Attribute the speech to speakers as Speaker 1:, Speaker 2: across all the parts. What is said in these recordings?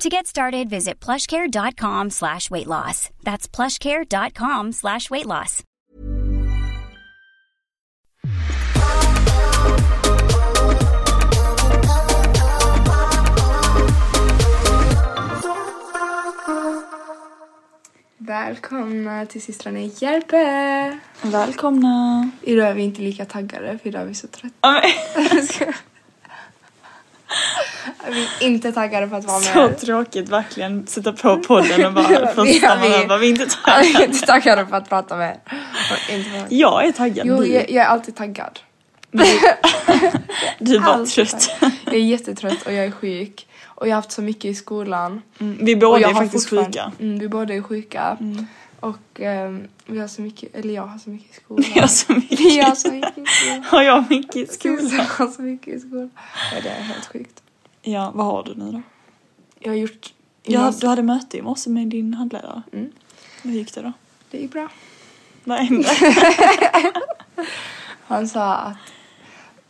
Speaker 1: To get started, visit plushcare.com slash weight loss. That's plushcare.com slash weight loss.
Speaker 2: Välkomna till systrarna Järpe!
Speaker 3: Välkomna!
Speaker 2: Idag är vi inte lika taggade för idag är vi så trötta. vi är inte taggade på att vara
Speaker 3: Så
Speaker 2: med.
Speaker 3: tråkigt verkligen sätta på podden och bara första
Speaker 2: vi-
Speaker 3: morgonen var vi inte
Speaker 2: Vi är
Speaker 3: taggade.
Speaker 2: inte taggade på att prata med er. Och inte med-
Speaker 3: Jag är taggad
Speaker 2: Jo,
Speaker 3: nu.
Speaker 2: jag, jag är alltid taggad.
Speaker 3: Du var
Speaker 2: Alltid
Speaker 3: trött.
Speaker 2: taggad. Jag är jättetrött och jag är sjuk. Och jag har haft så mycket i skolan.
Speaker 3: Mm, Vi
Speaker 2: Och
Speaker 3: båda
Speaker 2: jag
Speaker 3: är
Speaker 2: har
Speaker 3: faktiskt
Speaker 2: fortfarande-
Speaker 3: sjuka. Mm.
Speaker 2: Mm, vi båda är sjuka. Och ehm, vi har så mycket, eller jag har så mycket i skolan.
Speaker 3: Jag har så mycket.
Speaker 2: Vi har så mycket i skolan.
Speaker 3: Har jag mycket i skolan?
Speaker 2: Susan har så mycket i skolan. Ja, det är helt sjukt.
Speaker 3: Ja, vad har du nu då?
Speaker 2: Jag har gjort
Speaker 3: Ja,
Speaker 2: gymnasiet.
Speaker 3: du hade möte i morse med din handledare.
Speaker 2: Mm.
Speaker 3: Hur gick det då?
Speaker 2: Det gick bra.
Speaker 3: Vad hände?
Speaker 2: Han sa att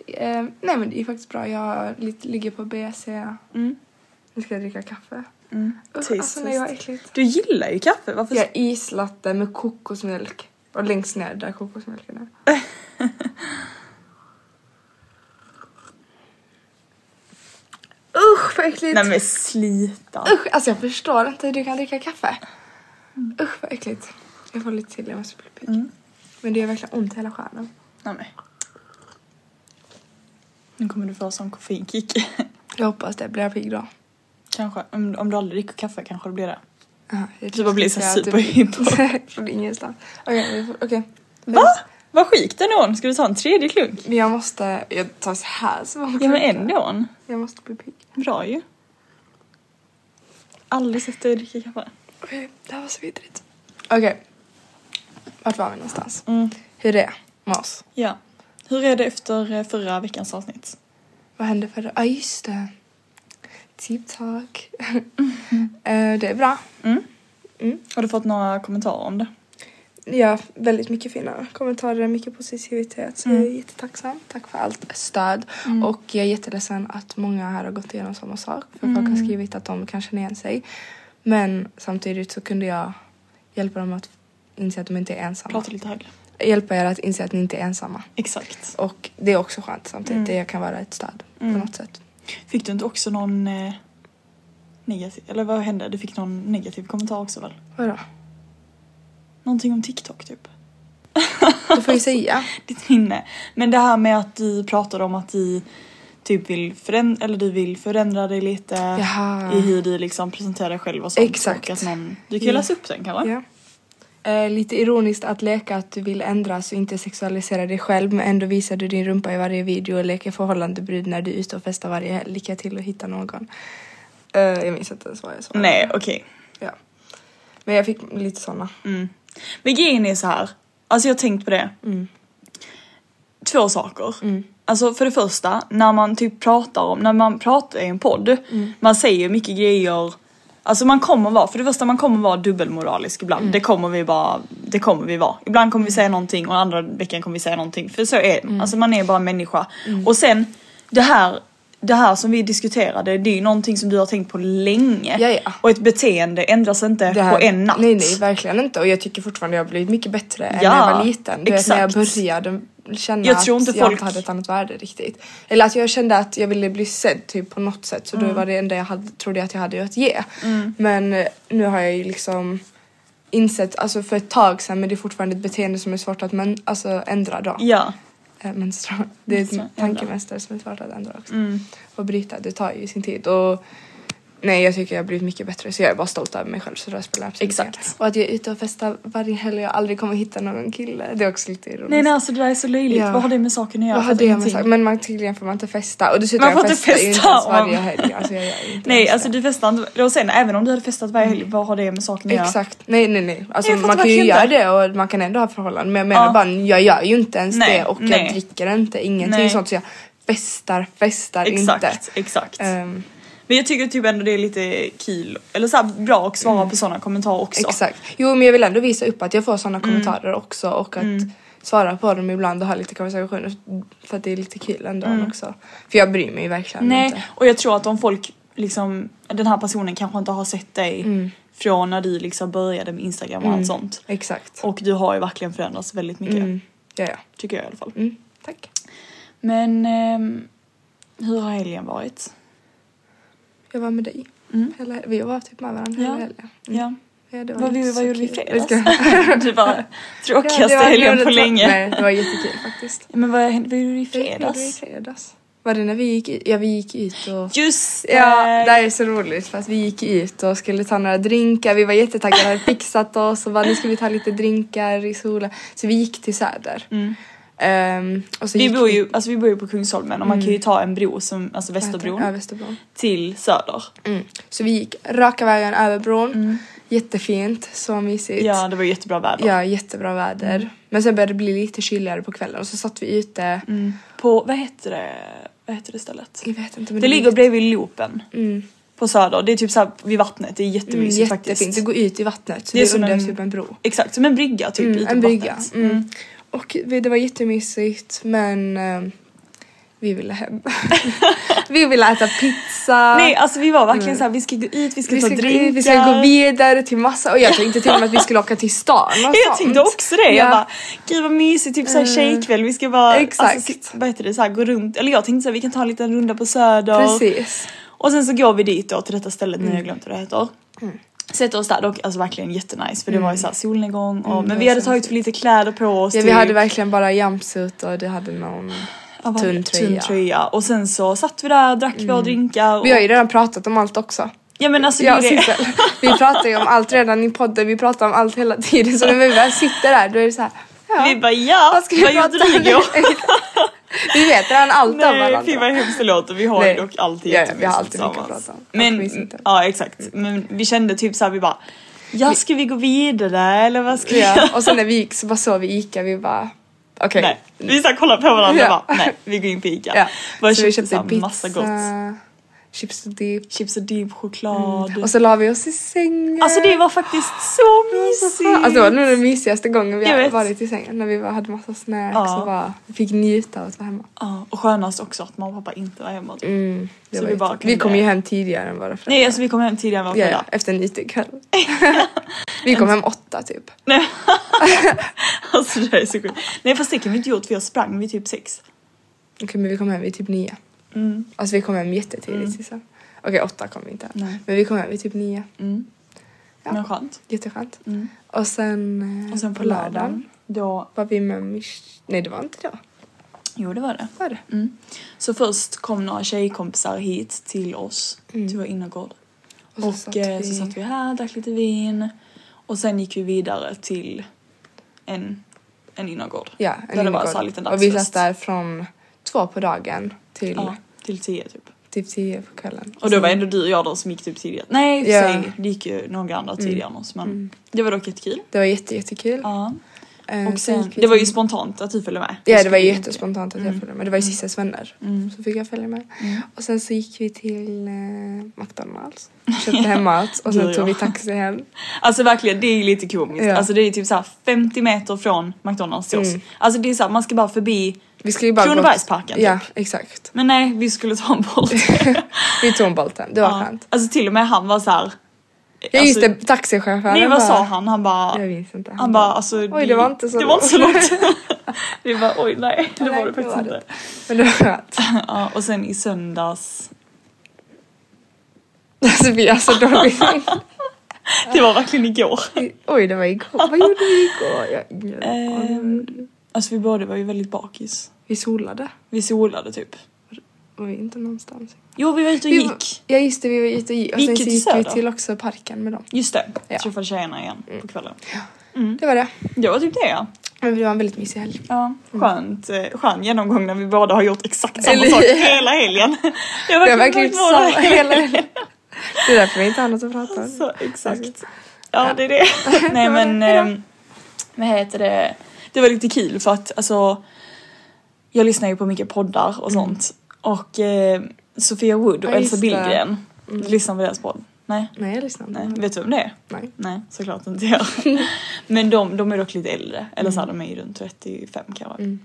Speaker 2: eh, nej men det är faktiskt bra. Jag lite, ligger på BC.
Speaker 3: Mm.
Speaker 2: Nu ska jag dricka kaffe.
Speaker 3: Mm.
Speaker 2: Usch,
Speaker 3: Tyst,
Speaker 2: alltså nej vad
Speaker 3: tyst.
Speaker 2: äckligt.
Speaker 3: Du gillar ju kaffe, varför?
Speaker 2: Jag har islatte med kokosmjölk. Och längst ner där kokosmjölken är. Usch vad äckligt.
Speaker 3: Nej men slita.
Speaker 2: Usch, alltså jag förstår inte hur du kan dricka kaffe. Usch vad äckligt. Jag får lite till, jag måste bli pigg. Men det gör verkligen ont i hela stjärnan.
Speaker 3: Nej, men. Nu kommer du få sån koffeinkick.
Speaker 2: Jag hoppas det, blir jag pigg då?
Speaker 3: kanske, om, om du aldrig dricker kaffe kanske det blir det.
Speaker 2: Aha, jag typ
Speaker 3: Du bara blir
Speaker 2: tänkte
Speaker 3: så
Speaker 2: säga att du-
Speaker 3: superhypo.
Speaker 2: Från ingenstans. Okej, vi får- okej.
Speaker 3: Va? Vad sjukt ändå, ska du ta en tredje klunk?
Speaker 2: Men jag måste, jag tar så här så många
Speaker 3: Ja men
Speaker 2: klunkar.
Speaker 3: ändå.
Speaker 2: Jag måste bli pigg.
Speaker 3: Bra ju. Aldrig sett dig dricka kaffe.
Speaker 2: Okej, det här var så vidrigt. Okej. Vart var vi någonstans?
Speaker 3: Mm.
Speaker 2: Hur är det med oss?
Speaker 3: Ja. Hur är det efter eh, förra veckans avsnitt?
Speaker 2: Vad hände förra? Ja ah, just det. Tip-tack. Eh, det är bra.
Speaker 3: Har du fått några kommentarer om det?
Speaker 2: Ja, väldigt mycket fina kommentarer, mycket positivitet. Så jag är jättetacksam. Tack för allt stöd.
Speaker 3: Mm.
Speaker 2: Och jag är jätteledsen att många här har gått igenom samma sak. För folk
Speaker 3: Mm.
Speaker 2: har skrivit att de kan känna igen sig. Men samtidigt så kunde jag hjälpa dem att inse att de inte är ensamma.
Speaker 3: Prata lite högre.
Speaker 2: Hjälpa er att inse att ni inte är ensamma.
Speaker 3: Exakt.
Speaker 2: Och det är också skönt samtidigt.
Speaker 3: Mm.
Speaker 2: Det kan vara ett stöd på något sätt.
Speaker 3: Fick du inte också någon eh, negativ, eller vad hände? Du fick någon negativ kommentar också väl?
Speaker 2: Vadå?
Speaker 3: Någonting om TikTok typ?
Speaker 2: Du får ju säga.
Speaker 3: ditt minne. Men det här med att du pratade om att du typ vill förändra, eller du vill förändra dig lite
Speaker 2: Jaha.
Speaker 3: i hur du liksom presenterar dig själv och sånt.
Speaker 2: Exakt.
Speaker 3: Och att någon, du kan
Speaker 2: Ja.
Speaker 3: ju läsa upp den kanske?
Speaker 2: Ja. Eh, lite ironiskt att leka att du vill ändras och inte sexualisera dig själv men ändå visar du din rumpa i varje video och leker förhållandebrud när du är ute och festar varje helg. Lycka till att hitta någon. Eh, jag minns inte ens vad jag sa.
Speaker 3: Nej okej.
Speaker 2: Ja. Men jag fick lite såna.
Speaker 3: Mm, Men grejen är så här. alltså jag har tänkt på det.
Speaker 2: Mm.
Speaker 3: Två saker. Alltså för det
Speaker 2: Mm.
Speaker 3: första, när man typ pratar om, när man pratar i en podd, man säger mycket grejer Alltså man kommer vara, för det första man kommer vara dubbelmoralisk ibland.
Speaker 2: Mm.
Speaker 3: Det kommer vi bara, det kommer vi vara. Ibland kommer vi säga någonting och andra veckan kommer vi säga någonting. För så är det.
Speaker 2: Mm.
Speaker 3: Alltså man är bara en människa. Och sen det här, det här som vi diskuterade, det är ju någonting som du har tänkt på länge.
Speaker 2: Ja, ja.
Speaker 3: Och ett beteende ändras inte
Speaker 2: Det här-
Speaker 3: på en natt.
Speaker 2: Nej nej verkligen inte och jag tycker fortfarande jag har blivit mycket bättre än
Speaker 3: Ja,
Speaker 2: när jag var liten. Du vet när jag
Speaker 3: exakt.
Speaker 2: började känna
Speaker 3: Jag tror inte
Speaker 2: att jag
Speaker 3: folk-
Speaker 2: inte hade ett annat värde riktigt. Eller att jag kände att jag ville bli sedd typ på något sätt så
Speaker 3: Mm.
Speaker 2: då var det enda jag hade, trodde jag att jag hade att ge. Men eh, nu har jag ju liksom insett, alltså för ett tag sedan men det är fortfarande ett beteende som är svårt att men, alltså, ändra då.
Speaker 3: Ja.
Speaker 2: Eh, menstra- Det är
Speaker 3: Menstra-
Speaker 2: ett tankemönster som är svårt att ändra också.
Speaker 3: Mm.
Speaker 2: Och bryta, det tar ju sin tid. Och nej, jag tycker jag har blivit mycket bättre så jag är bara stolt över mig själv så det spelar absolut ingen
Speaker 3: Exakt.
Speaker 2: roll. Och att jag är ute och festar varje helg och jag aldrig kommer hitta någon kille, det är också lite ironiskt.
Speaker 3: Nej nej alltså det där är så löjligt.
Speaker 2: Ja.
Speaker 3: Vad har det med saken att göra?
Speaker 2: Vad har
Speaker 3: Fattar
Speaker 2: det med
Speaker 3: ingenting.
Speaker 2: sig? Men man, tydligen får man inte festa. Och dessutom
Speaker 3: Man får
Speaker 2: jag
Speaker 3: inte
Speaker 2: festar ju inte
Speaker 3: festa
Speaker 2: ens
Speaker 3: om-
Speaker 2: varje helg. Alltså jag gör inte
Speaker 3: Nej
Speaker 2: ens
Speaker 3: alltså
Speaker 2: det.
Speaker 3: du festar inte, och sen även om du hade festat varje helg, vad har det med saken att göra?
Speaker 2: Exakt, nej nej nej. Alltså,
Speaker 3: Jag fattar
Speaker 2: man kan ju
Speaker 3: verkligen
Speaker 2: göra
Speaker 3: inte.
Speaker 2: det och man kan ändå ha förhållanden men jag menar
Speaker 3: Ja.
Speaker 2: bara jag gör ju inte ens
Speaker 3: Nej,
Speaker 2: det och
Speaker 3: nej.
Speaker 2: jag dricker inte, ingenting
Speaker 3: Nej.
Speaker 2: sånt så jag festar, festar
Speaker 3: Exakt,
Speaker 2: inte.
Speaker 3: exakt.
Speaker 2: Ehm,
Speaker 3: Men jag tycker typ ändå det är lite kul, eller så här bra att svara på sådana kommentarer också.
Speaker 2: Mm. exakt. Jo men jag vill ändå visa upp att jag får sådana
Speaker 3: Mm.
Speaker 2: kommentarer också och att svara på dem ibland och ha lite konversationer för att det är lite kul ändå också. För jag bryr mig ju verkligen
Speaker 3: Mm. Nej,
Speaker 2: inte.
Speaker 3: och jag tror att om folk liksom, den här personen kanske inte har sett dig
Speaker 2: Mm.
Speaker 3: från när du liksom började med Instagram och allt sånt.
Speaker 2: Exakt.
Speaker 3: Och du har ju verkligen förändrats väldigt mycket,
Speaker 2: Mm. Ja ja.
Speaker 3: tycker jag i alla fall.
Speaker 2: Mm. Tack.
Speaker 3: Men ehm, hur har helgen varit?
Speaker 2: Jag var med dig.
Speaker 3: Mm.
Speaker 2: Hela, vi var typ med varandra hela
Speaker 3: Ja.
Speaker 2: helgen.
Speaker 3: Ja.
Speaker 2: Ja, det var
Speaker 3: Vad,
Speaker 2: inte
Speaker 3: vi,
Speaker 2: så
Speaker 3: vad gjorde vi i
Speaker 2: kul.
Speaker 3: fredags?
Speaker 2: Jag ska-
Speaker 3: du bara
Speaker 2: Ja,
Speaker 3: tråkigaste
Speaker 2: det var-
Speaker 3: helgen på
Speaker 2: det var-
Speaker 3: länge.
Speaker 2: Nej, det var jättekul faktiskt.
Speaker 3: Men vad hände? Vad gjorde vi i
Speaker 2: Det gjorde vi i
Speaker 3: fredags?
Speaker 2: fredags. Var det när vi gick ut? Ja, vi gick ut och...
Speaker 3: Just eh, det!
Speaker 2: Ja, det här är så roligt för att vi gick ut och skulle ta några drinkar. Vi var jättetaggade, hade fixat oss och bara nu ska vi ta lite drinkar i solen. Så vi gick till Söder. Ehm, och så
Speaker 3: Mm. vi,
Speaker 2: gick
Speaker 3: bor ju, alltså vi bor ju på Kungsholmen och man kan ju ta en bro, som, alltså
Speaker 2: vad heter det?
Speaker 3: Västerbron,
Speaker 2: Mm. Ja, Västerbron.
Speaker 3: till Söder.
Speaker 2: Mm. Så vi gick raka vägen över bron. Jättefint, så mysigt.
Speaker 3: Mm. Ja, det var Mm. jättebra väder.
Speaker 2: Ja, jättebra väder. Men sen började det bli lite kyligare på kvällen och så satt vi ute.
Speaker 3: Mm. På, vad heter det, vad heter det stället?
Speaker 2: Jag vet inte.
Speaker 3: Det,
Speaker 2: Men
Speaker 3: ligger bredvid loopen
Speaker 2: Mm.
Speaker 3: på Söder. Det är typ såhär vid vattnet, det är
Speaker 2: Mm,
Speaker 3: jättemysigt
Speaker 2: jättefint.
Speaker 3: faktiskt.
Speaker 2: Det går ut i vattnet. Så
Speaker 3: Det
Speaker 2: det
Speaker 3: är
Speaker 2: är
Speaker 3: som
Speaker 2: under
Speaker 3: en-
Speaker 2: typ en bro.
Speaker 3: Exakt, som en brygga typ
Speaker 2: Mm,
Speaker 3: ute
Speaker 2: en
Speaker 3: på
Speaker 2: brygga.
Speaker 3: vattnet.
Speaker 2: Mm. Och vi, det var jättemysigt men eh, vi ville hem. vi ville äta pizza.
Speaker 3: Nej alltså vi var verkligen
Speaker 2: Mm.
Speaker 3: såhär, vi ska gå ut, vi ska
Speaker 2: vi
Speaker 3: ta
Speaker 2: ska, gå
Speaker 3: drinkar.
Speaker 2: ut, vi ska gå vidare till massa och jag tänkte till och med att vi skulle åka till stan och
Speaker 3: Jag
Speaker 2: sånt.
Speaker 3: tänkte också det.
Speaker 2: Ja. Mm.
Speaker 3: Jag bara, gud vad mysigt, typ såhär tjejkväll. Vi ska bara,
Speaker 2: Exakt.
Speaker 3: Alltså, sit- vad heter det, såhär gå runt. Eller jag tänkte såhär, vi kan ta en liten runda på Söder.
Speaker 2: Precis. Mm.
Speaker 3: Och sen så går vi dit då till detta stället, nu har jag glömt vad det heter. Sätter oss där, dock alltså verkligen jättenice för det var ju såhär solnedgång och, men
Speaker 2: Mm. det
Speaker 3: vi
Speaker 2: var
Speaker 3: hade
Speaker 2: så
Speaker 3: tagit för lite kläder på oss.
Speaker 2: Ja, vi
Speaker 3: typ.
Speaker 2: hade verkligen bara jumpsuit och det hade någon...
Speaker 3: Ja, vad-
Speaker 2: tunn tröja. Mm.
Speaker 3: tunn tröja. Och sen så satt vi där, drack våra drinkar. Och,
Speaker 2: Vi har ju redan pratat om allt också.
Speaker 3: ja men alltså
Speaker 2: Ja,
Speaker 3: det är det.
Speaker 2: Sissel. Vi pratar ju om allt redan i podden, vi pratar om allt hela tiden så när vi väl sitter där då är det så här. Ja,
Speaker 3: Vi bara ja,
Speaker 2: vad ska vi
Speaker 3: vad
Speaker 2: prata
Speaker 3: gjorde
Speaker 2: om?
Speaker 3: du igår?
Speaker 2: vi vet redan allt om
Speaker 3: Nej
Speaker 2: varandra.
Speaker 3: fy vad hemskt det låter. Vi har
Speaker 2: Nej.
Speaker 3: ju dock alltid
Speaker 2: Ja, ja,
Speaker 3: jättemysigt
Speaker 2: vi har alltid mycket
Speaker 3: tillsammans.
Speaker 2: att prata om. Och
Speaker 3: Men,
Speaker 2: mysigt.
Speaker 3: ja exakt. Men vi kände typ såhär vi bara Ja ska vi gå vidare eller vad ska vi göra?
Speaker 2: Ja, och sen när vi gick så bara såg vi Ica, vi bara okej.
Speaker 3: Nej, vi såhär kollar på varandra
Speaker 2: Ja.
Speaker 3: och bara nej vi går in på Ica.
Speaker 2: Ja.
Speaker 3: Bara
Speaker 2: Så
Speaker 3: köpte,
Speaker 2: vi
Speaker 3: så
Speaker 2: köpte
Speaker 3: här
Speaker 2: pizza,
Speaker 3: massa gott.
Speaker 2: chips och dipp
Speaker 3: Chips och dipp, choklad.
Speaker 2: Mm. och så la vi oss i sängen.
Speaker 3: Alltså det var faktiskt så mysigt.
Speaker 2: Alltså det var nog den mysigaste gången vi
Speaker 3: Jag
Speaker 2: har
Speaker 3: vet.
Speaker 2: varit i sängen när vi bara hade massa snacks
Speaker 3: Ja.
Speaker 2: och bara fick njuta av att vara hemma.
Speaker 3: Ja, och skönast också att mamma och pappa inte var hemma.
Speaker 2: Mm, det
Speaker 3: Så
Speaker 2: var
Speaker 3: vi bara
Speaker 2: jättekul. vi
Speaker 3: kunde-
Speaker 2: kom ju hem tidigare än våra föräldrar.
Speaker 3: Nej alltså vi kom hem tidigare än vad
Speaker 2: Ja,
Speaker 3: yeah.
Speaker 2: ja, efter en IT-kväll. vi kom hem åtta typ.
Speaker 3: Nej. alltså det här är så sjukt. Nej fast det kan vi inte gjort för jag sprang vid typ sex. Mm,
Speaker 2: Okej men vi kom hem vid typ nio. Alltså vi kom hem jättetidigt Sissa. Okej åtta kom vi inte hem.
Speaker 3: Nej.
Speaker 2: Men vi kom hem vid typ nio. Ja.
Speaker 3: mm. Men skönt.
Speaker 2: Jätteskönt. Och sen, eh,
Speaker 3: Mm. Och sen på lördagen då,
Speaker 2: var vi med Mich... Nej det var inte då.
Speaker 3: jo det var det.
Speaker 2: Var det?
Speaker 3: Mm. Så först kom några tjejkompisar hit till oss, till vår innergård.
Speaker 2: Och
Speaker 3: Mm. Och,
Speaker 2: så
Speaker 3: så,
Speaker 2: satt
Speaker 3: eh,
Speaker 2: vi-
Speaker 3: så satt vi här, drack lite vin. Och sen gick vi vidare till en, en innergård.
Speaker 2: Ja,
Speaker 3: Där det var
Speaker 2: innergård.
Speaker 3: så här liten
Speaker 2: Och vi
Speaker 3: dagsfest.
Speaker 2: satt där från två på dagen till
Speaker 3: Ja, till tio typ.
Speaker 2: typ tio på kvällen. Alltså,
Speaker 3: Och då var ändå du och jag de som gick typ tidigare. Nej i och för
Speaker 2: Ja.
Speaker 3: Mm. sig, det gick ju några andra tidigare än oss men det var dock jättekul.
Speaker 2: Det var jätte, jättekul.
Speaker 3: Ja.
Speaker 2: Eh,
Speaker 3: Och
Speaker 2: sen
Speaker 3: sen,
Speaker 2: gick vi
Speaker 3: det var ju
Speaker 2: till-
Speaker 3: spontant Mm. att du följde med. Mm.
Speaker 2: Ja det var
Speaker 3: skulle-
Speaker 2: jättespontant att jag följde med. Det var ju Sissas vänner. Så fick jag följa med.
Speaker 3: Mm.
Speaker 2: Och sen så gick vi till eh, McDonalds. Köpte hem mat och
Speaker 3: Du
Speaker 2: sen
Speaker 3: och
Speaker 2: tog vi
Speaker 3: jag.
Speaker 2: taxi hem.
Speaker 3: Alltså verkligen, det är lite komiskt.
Speaker 2: Ja. Mm.
Speaker 3: Alltså det är typ såhär 50 meter från McDonalds till oss. Alltså det är såhär, man ska bara förbi
Speaker 2: Vi skulle ju bara gått-
Speaker 3: Kronobergsparken typ.
Speaker 2: Ja exakt.
Speaker 3: Men nej, vi skulle ta en boll.
Speaker 2: Vi tog en Bolten, det var
Speaker 3: ja.
Speaker 2: skönt.
Speaker 3: Alltså till och med han var såhär...
Speaker 2: Ja just
Speaker 3: alltså,
Speaker 2: det, taxichauffören
Speaker 3: Nej vad
Speaker 2: bara-
Speaker 3: sa han? Han bara...
Speaker 2: Jag minns inte.
Speaker 3: Han bara alltså...
Speaker 2: Oj, det var inte så
Speaker 3: Det var inte så
Speaker 2: långt.
Speaker 3: långt. det var oj nej, det var det faktiskt
Speaker 2: var det
Speaker 3: inte.
Speaker 2: Men det var skönt.
Speaker 3: Ja, och sen i söndags.
Speaker 2: Alltså vi alltså då vi...
Speaker 3: Det var verkligen igår.
Speaker 2: Oj det var igår. Vad gjorde vi igår? Jag, har ingen
Speaker 3: Eh.
Speaker 2: aning.
Speaker 3: Alltså vi båda var ju väldigt bakis.
Speaker 2: vi solade.
Speaker 3: Vi solade typ.
Speaker 2: Var vi inte någonstans?
Speaker 3: Jo vi var ute och
Speaker 2: Vi var-
Speaker 3: gick.
Speaker 2: Ja just det, vi var ute och gick. Och
Speaker 3: Vi
Speaker 2: sen
Speaker 3: gick
Speaker 2: så
Speaker 3: ju till
Speaker 2: gick vi
Speaker 3: Söder.
Speaker 2: till också parken med dem.
Speaker 3: Just det,
Speaker 2: Ja. Mm.
Speaker 3: träffade tjejerna igen på kvällen. Mm.
Speaker 2: Det var det.
Speaker 3: Det var typ det ja.
Speaker 2: Men det var en väldigt mysig helg.
Speaker 3: ja skönt, eh, skön genomgång när vi båda har gjort exakt samma
Speaker 2: Eller-
Speaker 3: sak hela helgen. Det har
Speaker 2: Det har verkligen gjort
Speaker 3: varit vår
Speaker 2: samma hela helgen. Det är därför vi inte har något att prata om.
Speaker 3: Så, exakt. Ja, det är det. Nej
Speaker 2: var Alltså, det.
Speaker 3: men,
Speaker 2: Hejdå.
Speaker 3: ehm, vad heter det? Det var lite kul för att alltså, jag lyssnar ju på mycket poddar och sånt. Och eh, Sofia Wood och
Speaker 2: Mm. Ja,
Speaker 3: Elsa
Speaker 2: just det. Mm.
Speaker 3: Billgren, lyssnar på deras podd? Nej?
Speaker 2: Nej jag lyssnade
Speaker 3: Nej.
Speaker 2: inte.
Speaker 3: Vet du om det är?
Speaker 2: Nej.
Speaker 3: Nej, såklart inte jag. men de, de är dock lite äldre, eller
Speaker 2: Mm.
Speaker 3: så här, de är ju runt 35 kanske.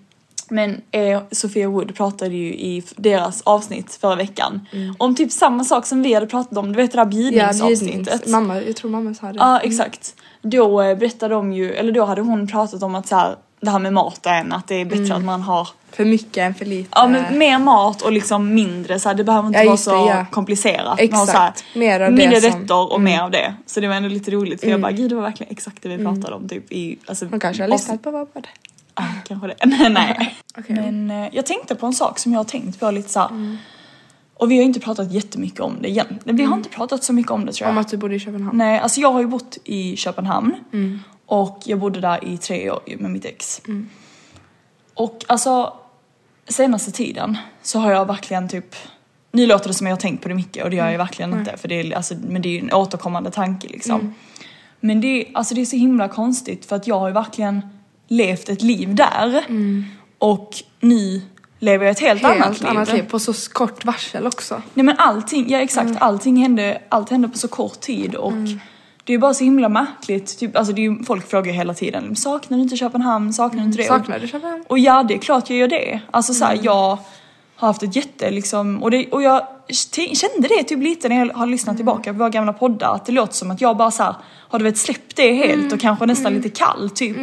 Speaker 3: Men eh, Sofia Wood pratade ju i f- deras avsnitt förra veckan om typ samma sak som vi hade pratat om, du vet det där
Speaker 2: Mm. Ja,
Speaker 3: bjudningsavsnittet.
Speaker 2: bjudnings. Mamma, jag tror mamma sa det.
Speaker 3: Ja exakt. Då eh, berättade de ju, eller då hade hon pratat om att så här, det här med maten, att det är
Speaker 2: Mm.
Speaker 3: bättre att man har
Speaker 2: För mycket än för lite.
Speaker 3: ja, men mer mat och liksom mindre så här, det behöver inte
Speaker 2: Eh. Ja,
Speaker 3: vara
Speaker 2: just det,
Speaker 3: så
Speaker 2: ja.
Speaker 3: komplicerat. Man har
Speaker 2: Exakt.
Speaker 3: så här,
Speaker 2: Mer av det
Speaker 3: mindre
Speaker 2: som- Mm.
Speaker 3: rätter och mer av det. Så det var ändå lite roligt för jag bara gud det var verkligen exakt det vi pratade om typ i... Alltså,
Speaker 2: Mm. Hon kanske har
Speaker 3: avsnitt-
Speaker 2: lyssnat på vår podd.
Speaker 3: Ja, kanske det. Nej, nej.
Speaker 2: Okej. Mm.
Speaker 3: Men eh, jag tänkte på en sak som jag har tänkt på lite så här. Och vi har ju inte pratat jättemycket om det igen. Vi har inte pratat så mycket om det tror jag.
Speaker 2: Mm. Om att du bodde i Köpenhamn.
Speaker 3: Nej, alltså jag har ju bott i Köpenhamn och jag bodde där i tre år ju med mitt ex. Och alltså senaste tiden så har jag verkligen typ nu låter det som jag har tänkt på det mycket och det gör jag verkligen inte för det är, alltså, men det är ju en återkommande tanke liksom. Men det är, alltså, det är så himla konstigt för att jag har ju verkligen levt ett liv där och nu lever jag ett Mm. helt,
Speaker 2: Helt
Speaker 3: annat liv.
Speaker 2: På så kort varsel också.
Speaker 3: Nej men allting, ja exakt,
Speaker 2: Mm.
Speaker 3: allting hände, allt hände på så kort tid och det är bara så himla märkligt. Typ, alltså det är ju, folk frågar ju hela tiden, saknar du inte Köpenhamn? Saknar du inte det?
Speaker 2: Mm, Saknar du Mm. Köpenhamn?
Speaker 3: Och ja, det är klart jag gör det. Alltså så här, jag har haft ett jätte liksom, och, det, och jag t- kände det typ lite när jag har lyssnat
Speaker 2: Mm.
Speaker 3: tillbaka på våra gamla poddar, att det låter som att jag bara så här, har du vet släppt det helt
Speaker 2: Mm.
Speaker 3: och kanske nästan lite kall typ.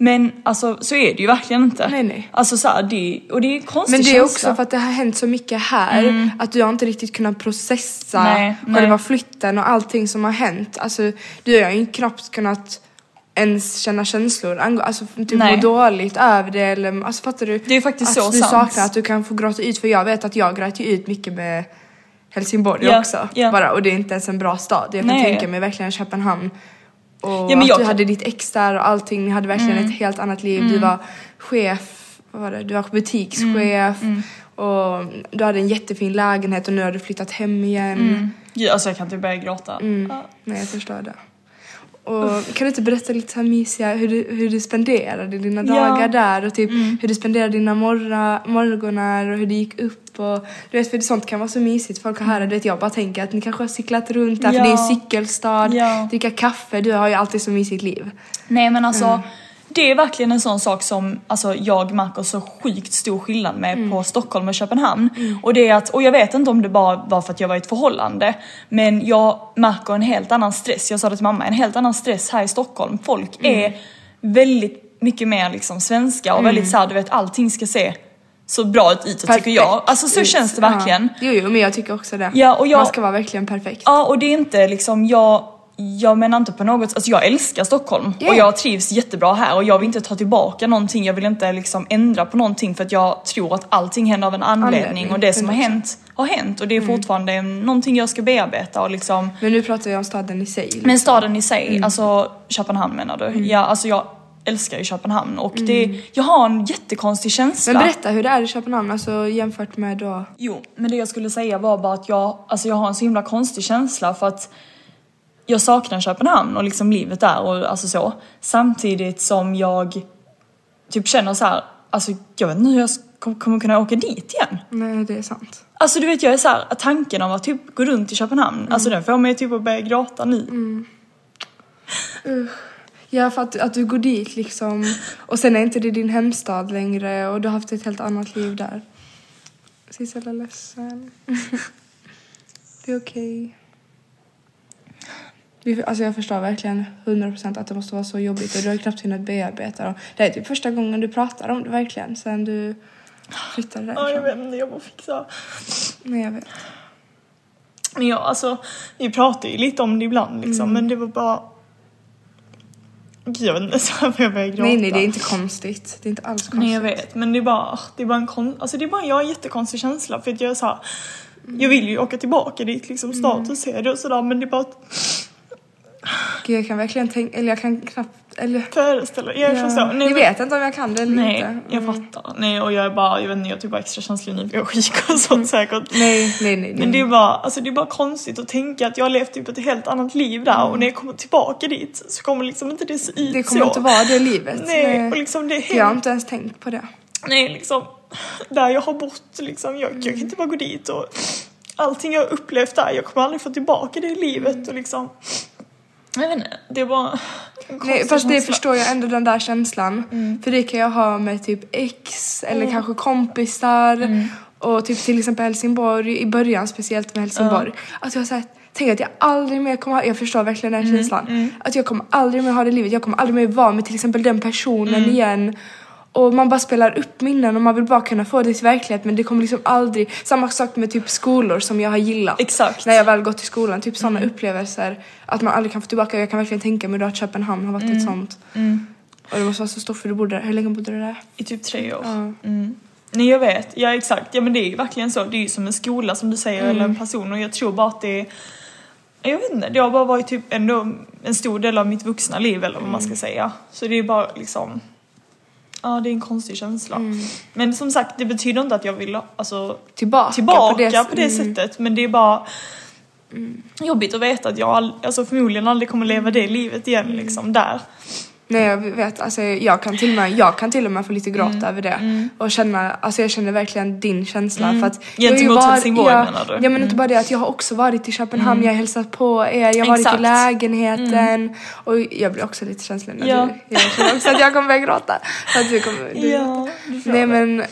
Speaker 3: Men alltså så är det ju verkligen inte.
Speaker 2: Nej, nej.
Speaker 3: Alltså så här, det, och det är en konstig
Speaker 2: Men det är
Speaker 3: känsla. Mm.
Speaker 2: också för att det har hänt så mycket här att du har inte riktigt kunnat processa
Speaker 3: Nej, nej.
Speaker 2: själva flytten och allting som har hänt. Alltså du har ju knappt kunnat ens känna känslor, ang- alltså typ må
Speaker 3: Nej.
Speaker 2: dåligt över det eller alltså fattar du?
Speaker 3: Det är faktiskt
Speaker 2: att
Speaker 3: så
Speaker 2: du
Speaker 3: sant.
Speaker 2: saknar att du kan få gråta ut för jag vet att jag grät ju ut mycket med Helsingborg
Speaker 3: Ja,
Speaker 2: också
Speaker 3: ja.
Speaker 2: bara och det är inte ens en bra stad. Jag kan
Speaker 3: Nej.
Speaker 2: tänka mig verkligen Köpenhamn och
Speaker 3: men
Speaker 2: att
Speaker 3: jag
Speaker 2: du
Speaker 3: kan- Mm.
Speaker 2: hade ditt ex där och allting, ni hade verkligen ett helt annat liv. Du var chef, vad var det? Du var
Speaker 3: Mm,
Speaker 2: butikschef och du hade en jättefin lägenhet och nu har du flyttat hem igen.
Speaker 3: Gud, alltså jag kan typ börja gråta.
Speaker 2: Mm.
Speaker 3: Ja.
Speaker 2: Nej, jag förstår det. Och kan du inte berätta lite så här mysiga hur du, hur du spenderade dina
Speaker 3: Ja. Mm.
Speaker 2: dagar där och typ hur du spenderade dina morra, morgonar och hur du gick upp och du vet för sånt kan vara så mysigt folk har höra. Du vet jag bara tänker att ni kanske har cyklat runt där
Speaker 3: Mm.
Speaker 2: för
Speaker 3: Ja.
Speaker 2: det är en cykelstad,
Speaker 3: Ja.
Speaker 2: dricka kaffe, du har ju alltid så mysigt liv.
Speaker 3: Nej men alltså,
Speaker 2: Mm.
Speaker 3: det är verkligen en sån sak som alltså, jag märker så sjukt stor skillnad med
Speaker 2: Mm.
Speaker 3: på Stockholm och Köpenhamn. Och, det är att, och jag vet inte om det bara var för att jag var i ett förhållande, men jag märker en helt annan stress. Jag sa det till mamma, en helt annan stress här i Stockholm. Folk
Speaker 2: Mm.
Speaker 3: är väldigt mycket mer liksom svenska och väldigt såhär, du vet allting ska se så bra ut utåt tycker jag.
Speaker 2: Mm. Perfekt.
Speaker 3: Alltså så känns det verkligen.
Speaker 2: Ja. Jo, jo men jag tycker också det.
Speaker 3: Ja, och jag-
Speaker 2: Man ska vara verkligen perfekt.
Speaker 3: Ja och det är inte liksom, jag, jag menar inte på något alltså jag älskar Stockholm
Speaker 2: Ja.
Speaker 3: och jag trivs jättebra här och jag vill inte ta tillbaka någonting, jag vill inte liksom ändra på någonting för att jag tror att allting händer av en anledning,
Speaker 2: Anledning, Mm.
Speaker 3: och det som har
Speaker 2: 100%.
Speaker 3: hänt har hänt och det är fortfarande en- någonting jag ska bearbeta och liksom
Speaker 2: Men nu pratar jag om staden i sig. liksom.
Speaker 3: men staden i sig, alltså Köpenhamn menar du?
Speaker 2: Mm.
Speaker 3: Ja, alltså jag älskar ju Köpenhamn och det, jag har en jättekonstig känsla.
Speaker 2: men berätta hur det är i Köpenhamn, alltså jämfört med då...
Speaker 3: Jo, men det jag skulle säga var bara att jag, alltså jag har en så himla konstig känsla för att jag saknar Köpenhamn och liksom livet där och alltså så. Samtidigt som jag typ känner så här, alltså jag vet inte hur jag sk- kommer kunna åka dit igen.
Speaker 2: Nej, det är sant.
Speaker 3: Alltså du vet jag är så här, att tanken om att typ gå runt i Köpenhamn,
Speaker 2: Mm.
Speaker 3: alltså den får mig typ att börja gråta nu.
Speaker 2: Ja, för att, att du går dit liksom och sen är inte det din hemstad längre och du har haft ett helt annat liv där. Sissela är ledsen. Det är okej. Vi- Alltså jag förstår verkligen 100% att det måste vara så jobbigt och du har ju knappt hunnit bearbeta dem. Det här är typ första gången du pratar om det verkligen sen du flyttade
Speaker 3: Ja, jag
Speaker 2: därifrån.
Speaker 3: vet inte, jag får fixa.
Speaker 2: Nej, jag vet.
Speaker 3: Men jag, alltså, vi pratar ju lite om det ibland liksom,
Speaker 2: Mm.
Speaker 3: men det var bara... Gud, jag vet inte, så här jag börjar gråta.
Speaker 2: Nej, nej, det är inte konstigt. Det är inte alls konstigt.
Speaker 3: Nej jag vet men det är bara, det är bara en kon, alltså det är bara, jag har en jättekonstig känsla för att jag är så här,
Speaker 2: Mm.
Speaker 3: jag vill ju åka tillbaka dit liksom status är det och sådär men det är bara att
Speaker 2: Gud, jag kan verkligen tänka, eller jag kan knappt, eller...
Speaker 3: föreställa, jag
Speaker 2: Ja.
Speaker 3: förstår. Nej,
Speaker 2: jag
Speaker 3: men-
Speaker 2: vet inte om jag kan det eller
Speaker 3: Nej
Speaker 2: inte.
Speaker 3: jag
Speaker 2: Mm.
Speaker 3: fattar. Nej och jag är bara, jag vet inte jag är typ bara extra känslig nu för jag är sjuk och sånt säkert.
Speaker 2: Mm. Nej, nej, nej.
Speaker 3: Men det är, bara, alltså det är bara konstigt att tänka att jag har levt typ ett helt annat liv där och när jag kommer tillbaka dit så kommer liksom inte det se ut
Speaker 2: Mm. Det kommer
Speaker 3: så.
Speaker 2: inte vara det livet.
Speaker 3: Nej, och liksom det är
Speaker 2: Jag har
Speaker 3: helt
Speaker 2: inte ens tänkt på det.
Speaker 3: Nej, liksom där jag har bott liksom. Jag, jag
Speaker 2: Mm.
Speaker 3: kan inte bara gå dit och allting jag har upplevt där, jag kommer aldrig få tillbaka det i livet och liksom. Jag vet inte, det var en
Speaker 2: Nej,
Speaker 3: konstig
Speaker 2: fast det
Speaker 3: känsla.
Speaker 2: förstår jag ändå den där känslan. För det kan jag ha med typ ex eller kanske kompisar. Och typ till exempel Helsingborg, i början speciellt med Helsingborg. Att jag såhär, tänk att jag aldrig mer kommer ha, jag förstår verkligen den känslan. Att jag kommer aldrig mer ha det livet, jag kommer aldrig mer vara med till exempel den personen igen. Och man bara spelar upp minnen och man vill bara kunna få det till verklighet men det kommer liksom aldrig... Samma sak med typ skolor som jag har gillat.
Speaker 3: Exakt.
Speaker 2: När jag väl gått till skolan, typ sådana upplevelser. Att man aldrig kan få tillbaka. Jag kan verkligen tänka mig då att Köpenhamn har varit ett sånt. Och det måste vara så stort för du bodde där. Hur länge bodde du där?
Speaker 3: I typ tre år.
Speaker 2: Ja.
Speaker 3: Mm. Nej jag vet, ja exakt. Ja men det är ju verkligen så. Det är ju som en skola som du säger eller en person och jag tror bara att det är jag vet inte, det har bara varit typ ändå en stor del av mitt vuxna liv eller vad man ska säga. Så det är bara liksom, ja det är en konstig känsla. Men som sagt det betyder inte att jag vill alltså,
Speaker 2: Tillbaka,
Speaker 3: tillbaka på det, Mm.
Speaker 2: mm.
Speaker 3: sättet men det är bara jobbigt att veta att jag all, alltså, förmodligen aldrig kommer leva det livet igen liksom där.
Speaker 2: Nej jag vet, alltså jag kan till och med, jag kan till och med få lite
Speaker 3: Mm.
Speaker 2: gråt över det. Och känna, alltså jag känner verkligen din känsla för att... jag har ju
Speaker 3: Mm. Gentemot
Speaker 2: varit-
Speaker 3: Helsingborg,
Speaker 2: ja,
Speaker 3: menar du? Mm.
Speaker 2: Ja men inte bara det att jag har också varit i Köpenhamn, jag har hälsat på er, jag har varit
Speaker 3: Exakt. Mm.
Speaker 2: i lägenheten. Och jag blir också lite känslig när
Speaker 3: Ja.
Speaker 2: du... Jag tror också att jag kommer börja gråta. För att du kommer... Du,
Speaker 3: Ja, du får
Speaker 2: Nej
Speaker 3: det.
Speaker 2: men,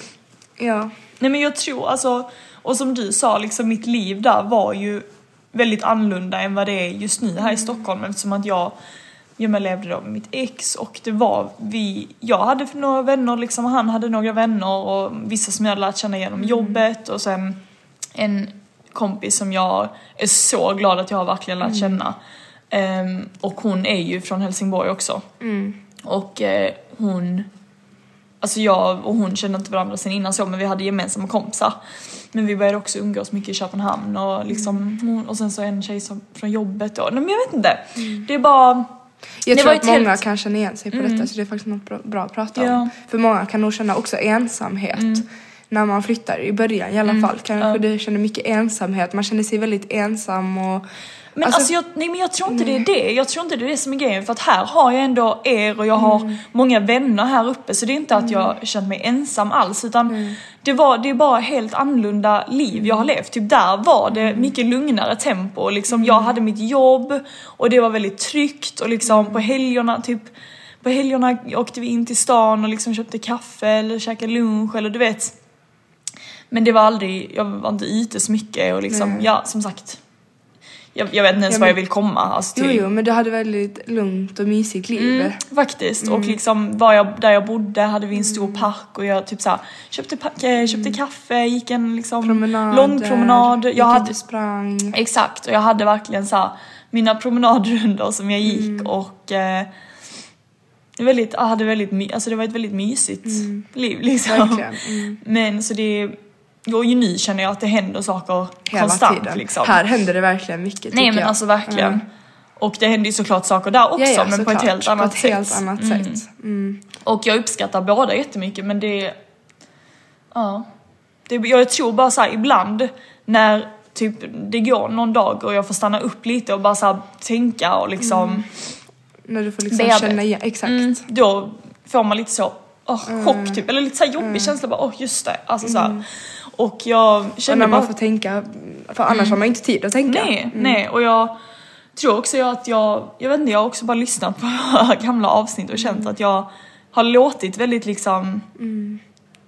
Speaker 2: ja.
Speaker 3: Nej men jag tror alltså, och som du sa, liksom mitt liv där var ju väldigt annorlunda än vad det är just nu här i Stockholm eftersom att jag, jag men levde då med mitt ex och det var vi, jag hade några vänner liksom och han hade några vänner och vissa som jag hade lärt känna genom jobbet och sen en kompis som jag är så glad att jag har verkligen lärt känna. Ehm, och hon är ju från Helsingborg också. Och eh, hon Alltså jag och hon kände inte varandra sen innan så men vi hade gemensamma kompisar. Men vi började också umgås mycket i Köpenhamn och liksom hon, och sen så en tjej som, från jobbet då. Nej men jag vet inte. Det är bara...
Speaker 2: Jag
Speaker 3: det
Speaker 2: tror
Speaker 3: var
Speaker 2: att
Speaker 3: ett helt- Mm.
Speaker 2: många kan känna igen sig på detta så det är faktiskt något bra, bra att prata
Speaker 3: Ja. Mm.
Speaker 2: om. För många kan nog känna också ensamhet. När man flyttar i början i alla fall. Kanske du känner mycket ensamhet. Man känner sig väldigt ensam och...
Speaker 3: Men alltså, jag, nej men jag tror inte det är det. Jag tror inte det är det som är grejen för att här har jag ändå er och jag har många vänner här uppe så det är inte att jag känt mig ensam alls utan det, var, det är bara helt annorlunda liv jag har levt. Typ där var det mycket lugnare tempo och liksom jag hade mitt jobb och det var väldigt tryggt och liksom på helgerna typ på helgerna åkte vi in till stan och liksom köpte kaffe eller käkade lunch eller du vet men det var aldrig, jag var inte ute så mycket och liksom, ja som sagt. Jag, jag vet inte ens
Speaker 2: Ja,
Speaker 3: var
Speaker 2: men-
Speaker 3: jag vill komma. Alltså,
Speaker 2: jo,
Speaker 3: till,
Speaker 2: jo, men du hade väldigt lugnt och mysigt liv.
Speaker 3: Mm. Faktiskt. Och
Speaker 2: Mm.
Speaker 3: liksom var jag, där jag bodde hade vi en stor park och jag typ såhär köpte, pa- eh, köpte kaffe, gick en liksom
Speaker 2: Promenader.
Speaker 3: lång
Speaker 2: Mm.
Speaker 3: promenad.
Speaker 2: eh, gick ut
Speaker 3: Jag hade,
Speaker 2: och sprang.
Speaker 3: exakt, och jag hade verkligen såhär mina promenadrundor som jag gick
Speaker 2: Mm.
Speaker 3: och eh, väldigt, jag hade väldigt, my- alltså det var ett väldigt mysigt liv liksom.
Speaker 2: Mm. Verkligen. Mm.
Speaker 3: Men så det, och ju nu känner jag att det händer saker
Speaker 2: Hela
Speaker 3: konstant
Speaker 2: tiden.
Speaker 3: liksom.
Speaker 2: Här händer det verkligen mycket tycker
Speaker 3: Nej men
Speaker 2: jag.
Speaker 3: alltså verkligen.
Speaker 2: Mm.
Speaker 3: Och det händer ju såklart saker där också
Speaker 2: Ja, ja,
Speaker 3: men på
Speaker 2: såklart.
Speaker 3: ett helt annat
Speaker 2: på ett helt
Speaker 3: sätt.
Speaker 2: annat sätt. Mm.
Speaker 3: Och jag uppskattar båda jättemycket men det... Ja. Det, jag tror bara såhär ibland när typ det går någon dag och jag får stanna upp lite och bara så här, tänka och liksom
Speaker 2: När du får liksom
Speaker 3: Bearbet-
Speaker 2: känna igen, exakt.
Speaker 3: Mm, då får man lite så åh, chock
Speaker 2: Mm.
Speaker 3: typ, eller lite så här jobbig känsla bara åh just det, alltså så här. Och jag
Speaker 2: Och
Speaker 3: kände
Speaker 2: när man
Speaker 3: bara- Mm.
Speaker 2: får tänka, för annars har man inte tid att tänka. Mm.
Speaker 3: Nej, nej och jag tror också jag att jag, jag vet inte, jag har också bara lyssnat på våra gamla avsnitt och
Speaker 2: Mm.
Speaker 3: känt att jag har låtit väldigt liksom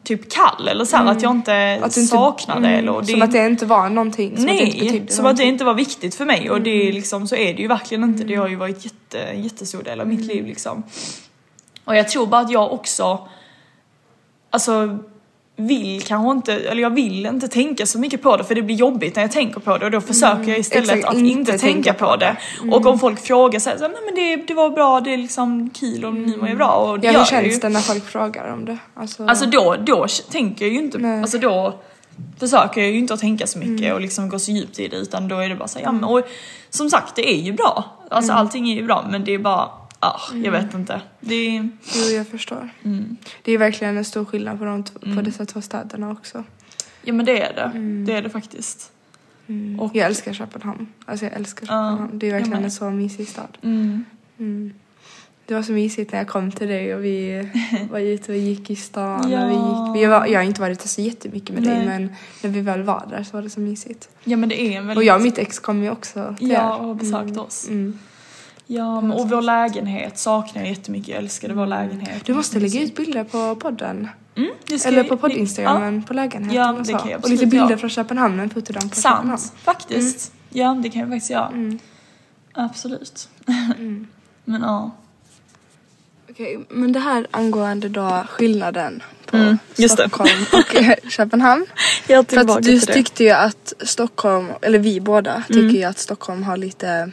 Speaker 3: typ kall eller så här, att jag inte
Speaker 2: Mm. Att du inte- mm.
Speaker 3: saknar det eller och det
Speaker 2: Som att det inte var någonting. Som att det inte
Speaker 3: Nej,
Speaker 2: betydde
Speaker 3: som att det
Speaker 2: någonting. Mm.
Speaker 3: inte var viktigt för mig och det är liksom, så är det ju verkligen inte. Det har ju varit jätte, en jättestor del av mitt
Speaker 2: Mm.
Speaker 3: liv liksom. Och jag tror bara att jag också, alltså vill kanske inte, eller jag vill inte tänka så mycket på det för det blir jobbigt när jag tänker på det och då försöker jag istället
Speaker 2: Mm. Exakt,
Speaker 3: att inte,
Speaker 2: inte
Speaker 3: tänka på det.
Speaker 2: Mm.
Speaker 3: Och om folk frågar så här, så här, nej men det, det var bra, det är liksom kul och ni mår ju bra och det
Speaker 2: Mm. Ja, hur
Speaker 3: gör jag ju.
Speaker 2: känns det när folk frågar om det? Alltså,
Speaker 3: Alltså då, då tänker jag ju inte,
Speaker 2: Nej. Mm.
Speaker 3: alltså då försöker jag ju inte att tänka så mycket och liksom gå så djupt i det utan då är det bara så här, ja men och som sagt det är ju bra. Alltså
Speaker 2: Mm.
Speaker 3: allting är ju bra men det är bara, ah, jag vet inte. Det är,
Speaker 2: jo, jag förstår.
Speaker 3: Mm.
Speaker 2: Det är verkligen en stor skillnad på, de t- på dessa två städerna också.
Speaker 3: ja men det är det.
Speaker 2: Mm.
Speaker 3: Det är det faktiskt. Och-
Speaker 2: Jag älskar Köpenhamn. Alltså jag älskar Köpenhamn. det är
Speaker 3: jag
Speaker 2: verkligen
Speaker 3: med.
Speaker 2: en så mysig stad.
Speaker 3: Mm.
Speaker 2: Det var så mysigt när jag kom till dig och vi var ute och gick i stan.
Speaker 3: Ja.
Speaker 2: Och vi gick, vi var, jag har inte varit där så jättemycket med
Speaker 3: Nej.
Speaker 2: dig men när vi väl var där så var det så mysigt.
Speaker 3: Ja men det är en väldigt...
Speaker 2: Och jag och mitt ex kom ju också till
Speaker 3: Ja,
Speaker 2: er.
Speaker 3: och har besökt oss.
Speaker 2: Mm.
Speaker 3: Ja, men, och vår lägenhet saknar jag jättemycket. Jag älskade vår lägenhet.
Speaker 2: Du måste lägga ut bilder på podden.
Speaker 3: Mm, det ska
Speaker 2: Eller
Speaker 3: vi-
Speaker 2: på
Speaker 3: det-
Speaker 2: poddinstagrammen,
Speaker 3: Ja,
Speaker 2: på lägenheten
Speaker 3: Ja,
Speaker 2: och
Speaker 3: det
Speaker 2: så.
Speaker 3: kan jag
Speaker 2: och lite
Speaker 3: absolut
Speaker 2: bilder
Speaker 3: göra.
Speaker 2: från Köpenhamn, en fotodag på Mm. Köpenhamn.
Speaker 3: Sant, faktiskt. Ja, det kan jag faktiskt göra. Absolut.
Speaker 2: Mm.
Speaker 3: men ja.
Speaker 2: Okej, men det här angående då skillnaden på
Speaker 3: Mm, just det.
Speaker 2: Stockholm och eh, Köpenhamn.
Speaker 3: Jag
Speaker 2: För att du tyckte ju att Stockholm, eller vi
Speaker 3: Mm.
Speaker 2: båda tycker ju att Stockholm har lite,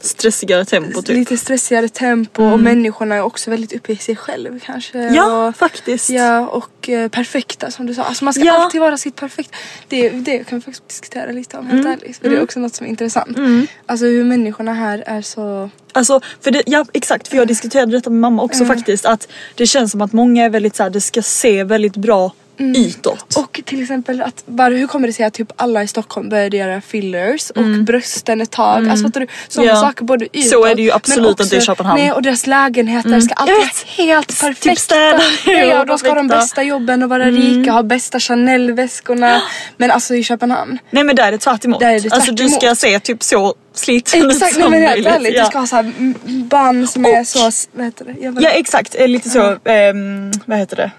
Speaker 3: stressigare tempo typ.
Speaker 2: lite stressigare tempo och människorna är också väldigt uppe i sig själv kanske.
Speaker 3: Mm. Ja,
Speaker 2: och,
Speaker 3: faktiskt.
Speaker 2: ja och eh, perfekta som du sa. Alltså man ska
Speaker 3: Ja.
Speaker 2: alltid vara sitt perfekta. Det, det kan vi faktiskt diskutera lite om
Speaker 3: Mm.
Speaker 2: helt ärligt. För det är också något som är intressant. Alltså hur människorna här är så
Speaker 3: Alltså, för det, ja exakt, för jag diskuterade detta med mamma också
Speaker 2: Mm.
Speaker 3: faktiskt att det känns som att många är väldigt såhär, det ska se väldigt bra utåt.
Speaker 2: Mm. Och till exempel att bara hur kommer det sig att typ alla i Stockholm började göra fillers och brösten ett tag. Alltså fattar du? Sådana
Speaker 3: Mm. Ja.
Speaker 2: saker både utåt.
Speaker 3: Så är det ju
Speaker 2: men
Speaker 3: absolut inte
Speaker 2: också-
Speaker 3: i Köpenhamn. Mm.
Speaker 2: Nej och deras lägenheter ska alltid
Speaker 3: Jag
Speaker 2: vara
Speaker 3: vet.
Speaker 2: helt perfekta.
Speaker 3: städade
Speaker 2: Nej,
Speaker 3: och
Speaker 2: och de ska ha de
Speaker 3: perfekta. Mm.
Speaker 2: bästa jobben och vara rika ha bästa Chanel-väskorna. Men alltså i Köpenhamn.
Speaker 3: Nej men där är det tvärt emot.
Speaker 2: Där är det
Speaker 3: Alltså
Speaker 2: tvärt
Speaker 3: du ska
Speaker 2: emot.
Speaker 3: se typ så sliten ut
Speaker 2: Exakt, nej
Speaker 3: som
Speaker 2: men helt
Speaker 3: möjligt.
Speaker 2: ärligt.
Speaker 3: Ja.
Speaker 2: Du ska ha så här mm, band som är
Speaker 3: Och-
Speaker 2: så, vad heter det? Jag vet-
Speaker 3: ja exakt, eh, lite så, ehm, vad heter det?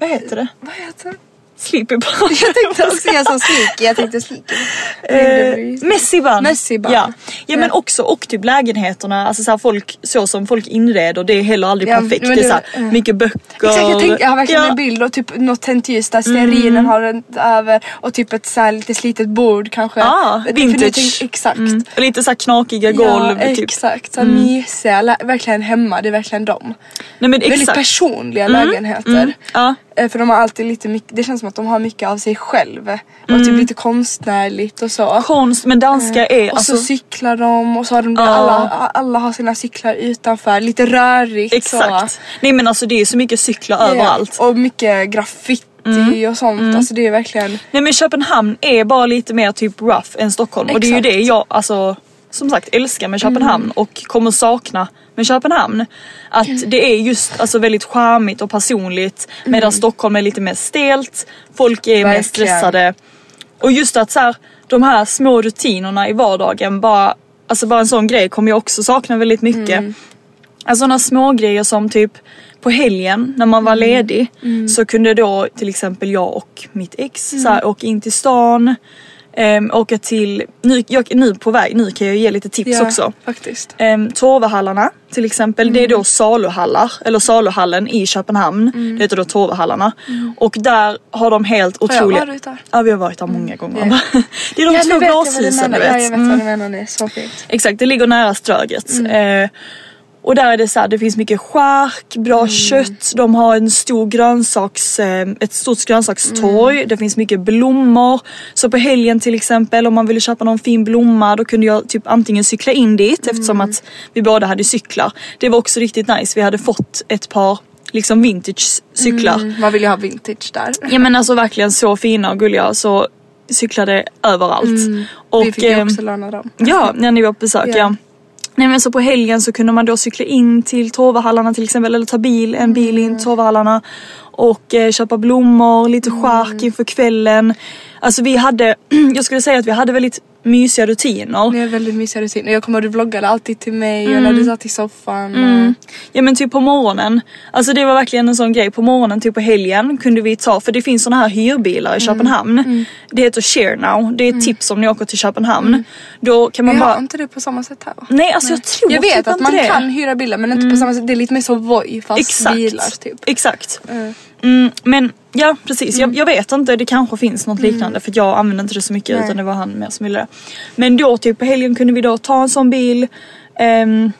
Speaker 3: Vad heter det?
Speaker 2: Vad heter det?
Speaker 3: Sleepy bun.
Speaker 2: Jag tänkte också säga som sneaky, jag tänkte sneaky.
Speaker 3: Eh, Messiband.
Speaker 2: Messiband.
Speaker 3: Ja. ja men
Speaker 2: Ja.
Speaker 3: också och typ lägenheterna, alltså så, här folk, så som folk inreder det är heller aldrig
Speaker 2: Ja,
Speaker 3: perfekt.
Speaker 2: men
Speaker 3: Det är
Speaker 2: det-
Speaker 3: så här,
Speaker 2: ja.
Speaker 3: mycket böcker.
Speaker 2: Exakt, jag tänkte, jag har verkligen
Speaker 3: Ja. Mm.
Speaker 2: en bild och typ något tänt ljus där stearinen har runt över och typ ett så här lite slitet bord kanske.
Speaker 3: Ja,
Speaker 2: För nu
Speaker 3: Ah, vintage.
Speaker 2: tänk- exakt.
Speaker 3: Mm. Och lite så här knakiga golv
Speaker 2: ja,
Speaker 3: typ.
Speaker 2: exakt. Så här mysiga, lä- verkligen hemma, det är verkligen dem.
Speaker 3: Nej men
Speaker 2: Väldigt
Speaker 3: exakt. Mm.
Speaker 2: personliga lägenheter.
Speaker 3: Ja.
Speaker 2: Eh, För de har alltid lite mycket, det känns som att de har mycket av sig själv. Och typ lite konstnärligt och så.
Speaker 3: Mm. Konst, men danska är
Speaker 2: Och så
Speaker 3: alltså
Speaker 2: cyklar de och så har de
Speaker 3: Ja.
Speaker 2: alla, alla har sina cyklar utanför, lite rörigt så.
Speaker 3: Exakt. Nej men alltså det är så mycket cyklar överallt. Mm.
Speaker 2: Ja, Och mycket graffiti och sånt. Alltså det är verkligen...
Speaker 3: Nej men Köpenhamn är bara lite mer typ rough än Stockholm och det är ju
Speaker 2: Exakt. Mm.
Speaker 3: det jag alltså som sagt älskar med Köpenhamn och kommer sakna med Köpenhamn. Att det är just alltså väldigt charmigt och personligt medan Stockholm är lite mer stelt, folk är mer
Speaker 2: Mm. Verkligen.
Speaker 3: stressade. Och just att så här, de här små rutinerna i vardagen bara, alltså bara en sån grej kommer jag också sakna väldigt mycket.
Speaker 2: Mm.
Speaker 3: Alltså sådana små grejer som typ på helgen när man var
Speaker 2: Mm.
Speaker 3: ledig så kunde då till exempel jag och mitt ex så
Speaker 2: Mm.
Speaker 3: här, åka in till stan, um, åka till, nu, jag, nu på väg, nu kan jag ge lite tips också.
Speaker 2: faktiskt.
Speaker 3: Um, Torvahallarna till exempel, det är
Speaker 2: Mm.
Speaker 3: då saluhallar, eller saluhallen i Köpenhamn. Det heter då Torvahallarna. Och där har de helt
Speaker 2: Mm. jag
Speaker 3: otroliga...
Speaker 2: varit där?
Speaker 3: Ja vi har varit där många gånger.
Speaker 2: Ja.
Speaker 3: det är de
Speaker 2: Ja, nu
Speaker 3: två
Speaker 2: vet jag vad du
Speaker 3: glashusen
Speaker 2: menar.
Speaker 3: du vet.
Speaker 2: Ja, jag vet
Speaker 3: Mm.
Speaker 2: vad du menar. Det är så fint.
Speaker 3: Exakt, det ligger nära Ströget.
Speaker 2: Mm.
Speaker 3: Eh, och där är det så här, det finns mycket skärk, bra
Speaker 2: Mm.
Speaker 3: kött, de har en stor grönsaks, eh, ett stort grönsakstorg,
Speaker 2: Mm.
Speaker 3: det finns mycket blommor. Så på helgen till exempel om man ville köpa någon fin blomma då kunde jag typ antingen cykla in dit
Speaker 2: Mm.
Speaker 3: eftersom att vi båda hade cyklar. Det var också riktigt nice, vi hade fått ett par liksom vintage cyklar.
Speaker 2: Mm. Man vill ju ha vintage där.
Speaker 3: Ja men alltså verkligen så fina och gulliga så cyklade överallt. Och,
Speaker 2: Mm. Vi fick ju
Speaker 3: ehm,
Speaker 2: också låna dem.
Speaker 3: Ja, när ni var på besök
Speaker 2: Ja.
Speaker 3: ja. Nej men så på helgen så kunde man då cykla in till Torvahallarna till exempel eller ta bil, en bil
Speaker 2: Mm.
Speaker 3: in till Torvahallarna och eh, köpa blommor, lite
Speaker 2: Mm.
Speaker 3: chark inför kvällen. Alltså vi hade, jag skulle säga att vi hade väldigt mysiga rutiner.
Speaker 2: Ni hade väldigt mysiga rutiner. Jag kommer ihåg du vloggade alltid till mig och
Speaker 3: Mm.
Speaker 2: när du satt i soffan. Och...
Speaker 3: Ja men typ på morgonen, alltså det var verkligen en sån grej. På morgonen typ på helgen kunde vi ta, för det finns såna här
Speaker 2: Mm.
Speaker 3: hyrbilar i Köpenhamn. Det heter share now, det är ett tips om ni åker till Köpenhamn. Då kan man
Speaker 2: Vi Mm. har
Speaker 3: bara
Speaker 2: inte det på samma sätt här va?
Speaker 3: Nej alltså jag tror
Speaker 2: Jag vet
Speaker 3: typ
Speaker 2: att
Speaker 3: inte
Speaker 2: man
Speaker 3: det.
Speaker 2: kan hyra bilar men inte på samma sätt. Det är lite mer så Voi fast
Speaker 3: Exakt.
Speaker 2: bilar typ. Mm.
Speaker 3: Exakt. Mm, men ja precis, jag, jag vet inte, det kanske finns något liknande för jag använde inte det så mycket
Speaker 2: Nej.
Speaker 3: utan det var han med som ville det. Men då typ på helgen kunde vi då ta en sån bil, ehm,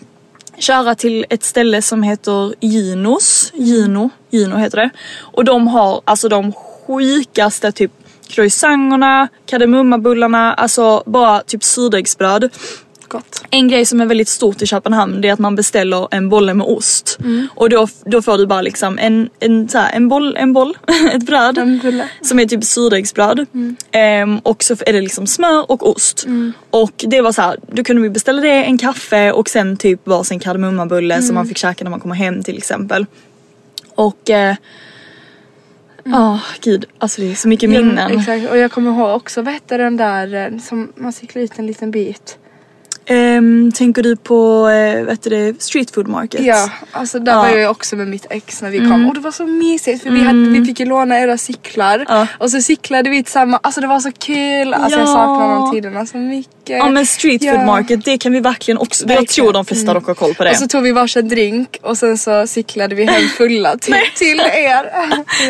Speaker 3: köra till ett ställe som heter Ginos, Gino, Gino heter det. Och de har alltså de sjukaste typ croissangerna, kardemummabullarna, alltså bara typ surdegsbröd.
Speaker 2: Gott.
Speaker 3: En grej som är väldigt stort i Köpenhamn det är att man beställer en bolle med ost.
Speaker 2: Mm.
Speaker 3: Och då, då får du bara liksom en, en, så här, en boll, en boll ett bröd.
Speaker 2: En bulle. Mm.
Speaker 3: Som är typ surdegsbröd. Ehm, och så är det liksom smör och ost. Och det var så här, då kunde vi beställa det, en kaffe och sen typ varsin kardemummabulle
Speaker 2: Mm.
Speaker 3: som man fick käka när man kommer hem till exempel. Och... Ja, eh, ah, gud. Alltså det är så mycket
Speaker 2: Mm.
Speaker 3: minnen.
Speaker 2: Ja, Mm, exakt. Och jag kommer ihåg också vad hette den där eh, som man cyklar ut en liten bit.
Speaker 3: Ehm, tänker du på, eh, vad heter det, street food market?
Speaker 2: Ja, alltså där
Speaker 3: Ja. Mm.
Speaker 2: var jag ju också med mitt ex när vi kom och det var så mysigt för vi, hade, vi fick ju låna era cyklar
Speaker 3: Ja.
Speaker 2: och så cyklade vi tillsammans. Alltså det var så kul. Alltså jag
Speaker 3: Ja.
Speaker 2: saknar de tiderna så mycket.
Speaker 3: Ja men street food
Speaker 2: Eh, Ja.
Speaker 3: market det kan vi verkligen också, jag
Speaker 2: Verkligen. Mm. Alltså,
Speaker 3: tror de flesta dock har koll på det.
Speaker 2: Och så tog vi varsin drink och sen så cyklade vi hem fulla till, till er.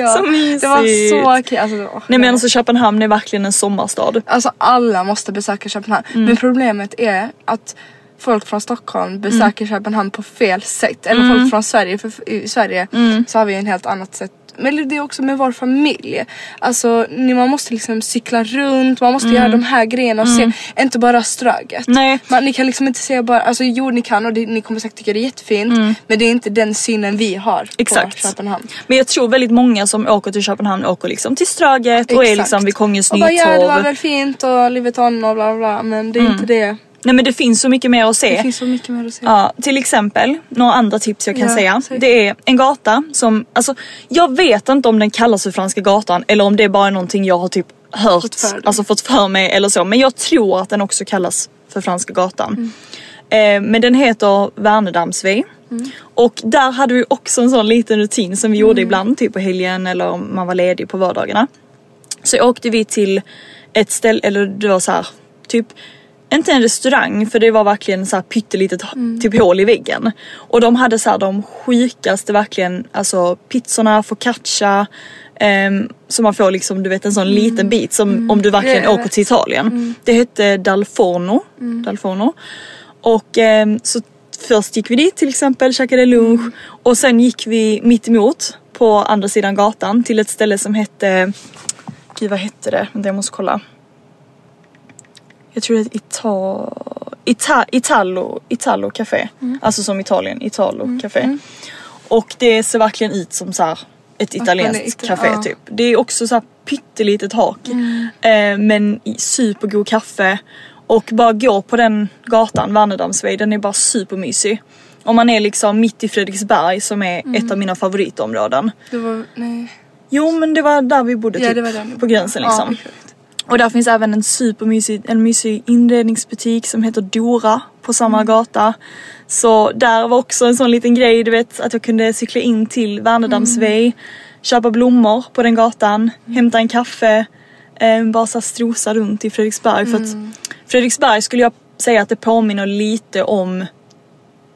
Speaker 2: ja.
Speaker 3: Så mysigt.
Speaker 2: Det var så kul. Alltså, det var-
Speaker 3: Nej men alltså Köpenhamn är verkligen en sommarstad.
Speaker 2: Alltså alla måste besöka Köpenhamn.
Speaker 3: Mm.
Speaker 2: Men problemet är att folk från Stockholm besöker Köpenhamn på fel sätt. Eller
Speaker 3: Mm.
Speaker 2: folk från Sverige, för i Sverige så har vi en helt annat sätt. Men det är också med vår familj. Alltså ni- man måste liksom cykla runt, man måste göra de här grejerna och se. Inte bara Ströget.
Speaker 3: Mm. Nej.
Speaker 2: Man, ni kan liksom inte se bara, alltså jo ni kan och det, ni kommer säkert tycka det är jättefint. Men det är inte den synen vi har
Speaker 3: Mm. Exakt.
Speaker 2: på Köpenhamn.
Speaker 3: Men jag tror väldigt många som åker till Köpenhamn åker liksom till Ströget och är
Speaker 2: Exakt.
Speaker 3: liksom vid Kongens
Speaker 2: Och bara ja det var
Speaker 3: Nytorv.
Speaker 2: väl fint och livet on och bla bla bla. Men det är
Speaker 3: Mm.
Speaker 2: inte det.
Speaker 3: Nej men det finns så mycket mer att se.
Speaker 2: Det finns så mycket mer att säga.
Speaker 3: Ja, till exempel, några andra tips jag kan
Speaker 2: Ja,
Speaker 3: säga.
Speaker 2: säg.
Speaker 3: Det är en gata som, alltså jag vet inte om den kallas för Franska gatan eller om det är bara någonting jag har typ hört,
Speaker 2: Fått för dig.
Speaker 3: alltså fått för mig eller så. Men jag tror att den också kallas för Franska
Speaker 2: Mm.
Speaker 3: gatan. Eh, men den heter Värnedamsväg. Och där hade vi också en sån liten rutin som vi
Speaker 2: Mm.
Speaker 3: gjorde ibland, typ på helgen eller om man var ledig på vardagarna. Så åkte vi till ett ställe, eller det var så här, typ inte en restaurang för det var verkligen så här pyttelitet h-
Speaker 2: Mm.
Speaker 3: typ hål i väggen. Och de hade så här de sjukaste verkligen, alltså pizzorna, focaccia. Um, så man får liksom du vet en sån liten bit som om du verkligen
Speaker 2: Mm. Ja, jag vet.
Speaker 3: åker
Speaker 2: Mm.
Speaker 3: till Italien. Det hette Dal Forno. Dal Forno. Och ehm, så först gick vi dit till exempel, käkade lunch och sen gick vi mitt emot på andra sidan gatan till ett ställe som hette Gud vad hette det? Vänta jag måste kolla. Jag tror det är Ita... Ita... Italo... Italo Café. Alltså som Italien, Italo Café. Och det ser verkligen ut som så här ett
Speaker 2: man är
Speaker 3: italienskt
Speaker 2: ute,
Speaker 3: café
Speaker 2: ja.
Speaker 3: typ. Det är också så här pyttelitet hak. Eh, men i- supergod kaffe. Och bara gå på den gatan, Värnedamsväg, den är bara supermysig. Om man är liksom mitt i Fredriksberg som är ett av mina favoritområden.
Speaker 2: Det var, nej.
Speaker 3: Jo men det var där vi bodde
Speaker 2: Ja,
Speaker 3: typ,
Speaker 2: det var där ni
Speaker 3: på gränsen liksom.
Speaker 2: Ja, exakt.
Speaker 3: Och där finns även en supermysig en mysig inredningsbutik som heter Dora på samma
Speaker 2: Mm.
Speaker 3: gata. Så där var också en sån liten grej, du vet att jag kunde cykla in till
Speaker 2: Mm.
Speaker 3: Värnedamsväg, köpa blommor på den gatan, hämta en kaffe, eh, bara så här strosa runt i Fredriksberg. För att
Speaker 2: Mm.
Speaker 3: Fredriksberg skulle jag säga att det påminner lite om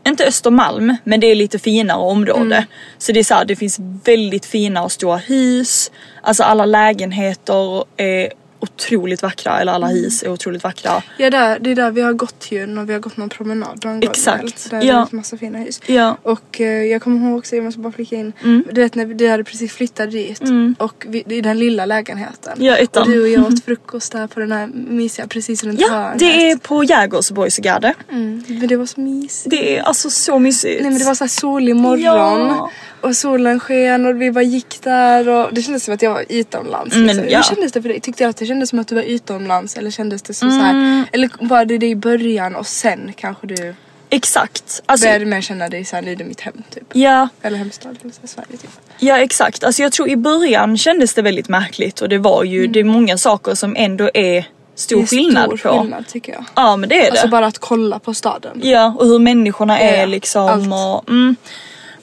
Speaker 3: inte Östermalm, men det är lite finare område.
Speaker 2: Mm.
Speaker 3: Så det är så här, det finns väldigt fina och stora hus. Alltså alla lägenheter är otroligt vackra, eller
Speaker 2: Mm.
Speaker 3: alla hus är otroligt vackra.
Speaker 2: ja där, det är där vi har gått ju när vi har gått någon promenad. någon gång,
Speaker 3: Exakt,
Speaker 2: eller? Där
Speaker 3: ja.
Speaker 2: är det massa fina hus.
Speaker 3: Ja.
Speaker 2: Och eh, jag kommer ihåg också, jag måste bara flika in.
Speaker 3: Mm.
Speaker 2: Du vet när vi, du hade precis flyttat dit och vi, i den lilla lägenheten.
Speaker 3: Ja, ettan.
Speaker 2: Och du och jag åt frukost där på den här mysiga precis runt
Speaker 3: Ja,
Speaker 2: hörnet.
Speaker 3: det är på Jägers Boysgarde.
Speaker 2: Mm, Men det var så mysigt.
Speaker 3: Det är alltså så mysigt.
Speaker 2: Nej men det var så här solig morgon
Speaker 3: Ja.
Speaker 2: och solen sken och vi bara gick där och det kändes som att jag var utomlands.
Speaker 3: Men
Speaker 2: liksom.
Speaker 3: Mm, ja.
Speaker 2: Hur kändes det för dig? Tyckte jag att det kändes som att du var utomlands eller kändes det som så
Speaker 3: Mm.
Speaker 2: här, Eller var det det i början och sen kanske du
Speaker 3: Exakt. Alltså,
Speaker 2: började mer känna dig såhär, nu är det mitt hem typ.
Speaker 3: ja,
Speaker 2: Eller hemstad, eller så här, Sverige typ.
Speaker 3: ja exakt. Alltså jag tror i början kändes det väldigt märkligt och det var ju, det är många saker som ändå är stor
Speaker 2: Mm. Det är
Speaker 3: skillnad
Speaker 2: stor
Speaker 3: på.
Speaker 2: skillnad tycker jag.
Speaker 3: Ja men det är det.
Speaker 2: Alltså bara att kolla på staden.
Speaker 3: Ja och hur människorna
Speaker 2: Ja,
Speaker 3: är
Speaker 2: ja.
Speaker 3: liksom
Speaker 2: Allt.
Speaker 3: och, mm.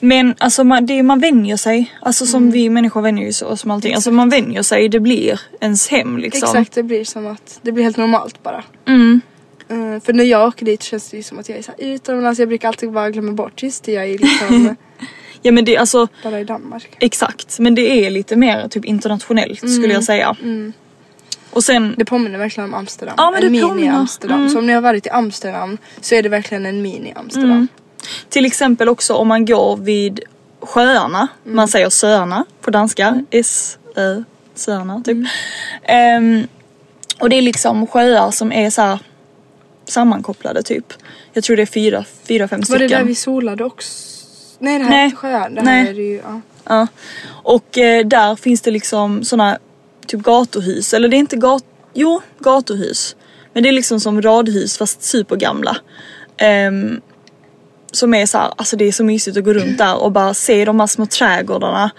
Speaker 3: Men alltså man, det, man vänjer sig, alltså
Speaker 2: Mm.
Speaker 3: som vi människor vänjer ju oss med allting. Alltså man vänjer sig, det blir ens hem liksom.
Speaker 2: Exakt, det blir som att det blir helt normalt bara.
Speaker 3: Mm.
Speaker 2: Eh, för när jag åker dit känns det ju som att jag är såhär utomlands, jag brukar alltid bara glömma bort. Just det, jag är liksom
Speaker 3: Ja men det alltså
Speaker 2: bara i Danmark.
Speaker 3: exakt, men det är lite mer typ internationellt
Speaker 2: Mm.
Speaker 3: skulle jag säga. Och sen,
Speaker 2: Det påminner verkligen om Amsterdam.
Speaker 3: Ja, men
Speaker 2: en
Speaker 3: det påminner. Mm.
Speaker 2: mini-Amsterdam. Så om ni har varit i Amsterdam så är det verkligen en mini-Amsterdam.
Speaker 3: Mm. Till exempel också om man går vid sjöarna.
Speaker 2: Mm.
Speaker 3: Man säger söarna på danska. S, ö, söarna typ.
Speaker 2: Mm.
Speaker 3: Ehm, och det är liksom sjöar som är så här sammankopplade typ. Jag tror det är fyra, fyra fem
Speaker 2: Var
Speaker 3: stycken.
Speaker 2: det där vi solade också? Nej det här
Speaker 3: Nej.
Speaker 2: är inte sjöar. Det här
Speaker 3: Nej.
Speaker 2: är det ju, ja.
Speaker 3: Ja. Och eh, där finns det liksom såna typ gatuhus. Eller det är inte gat... Jo, gatuhus. Men det är liksom som radhus fast supergamla. Ehm, som är så här, alltså det är så mysigt att gå runt där och bara se de här små trädgårdarna.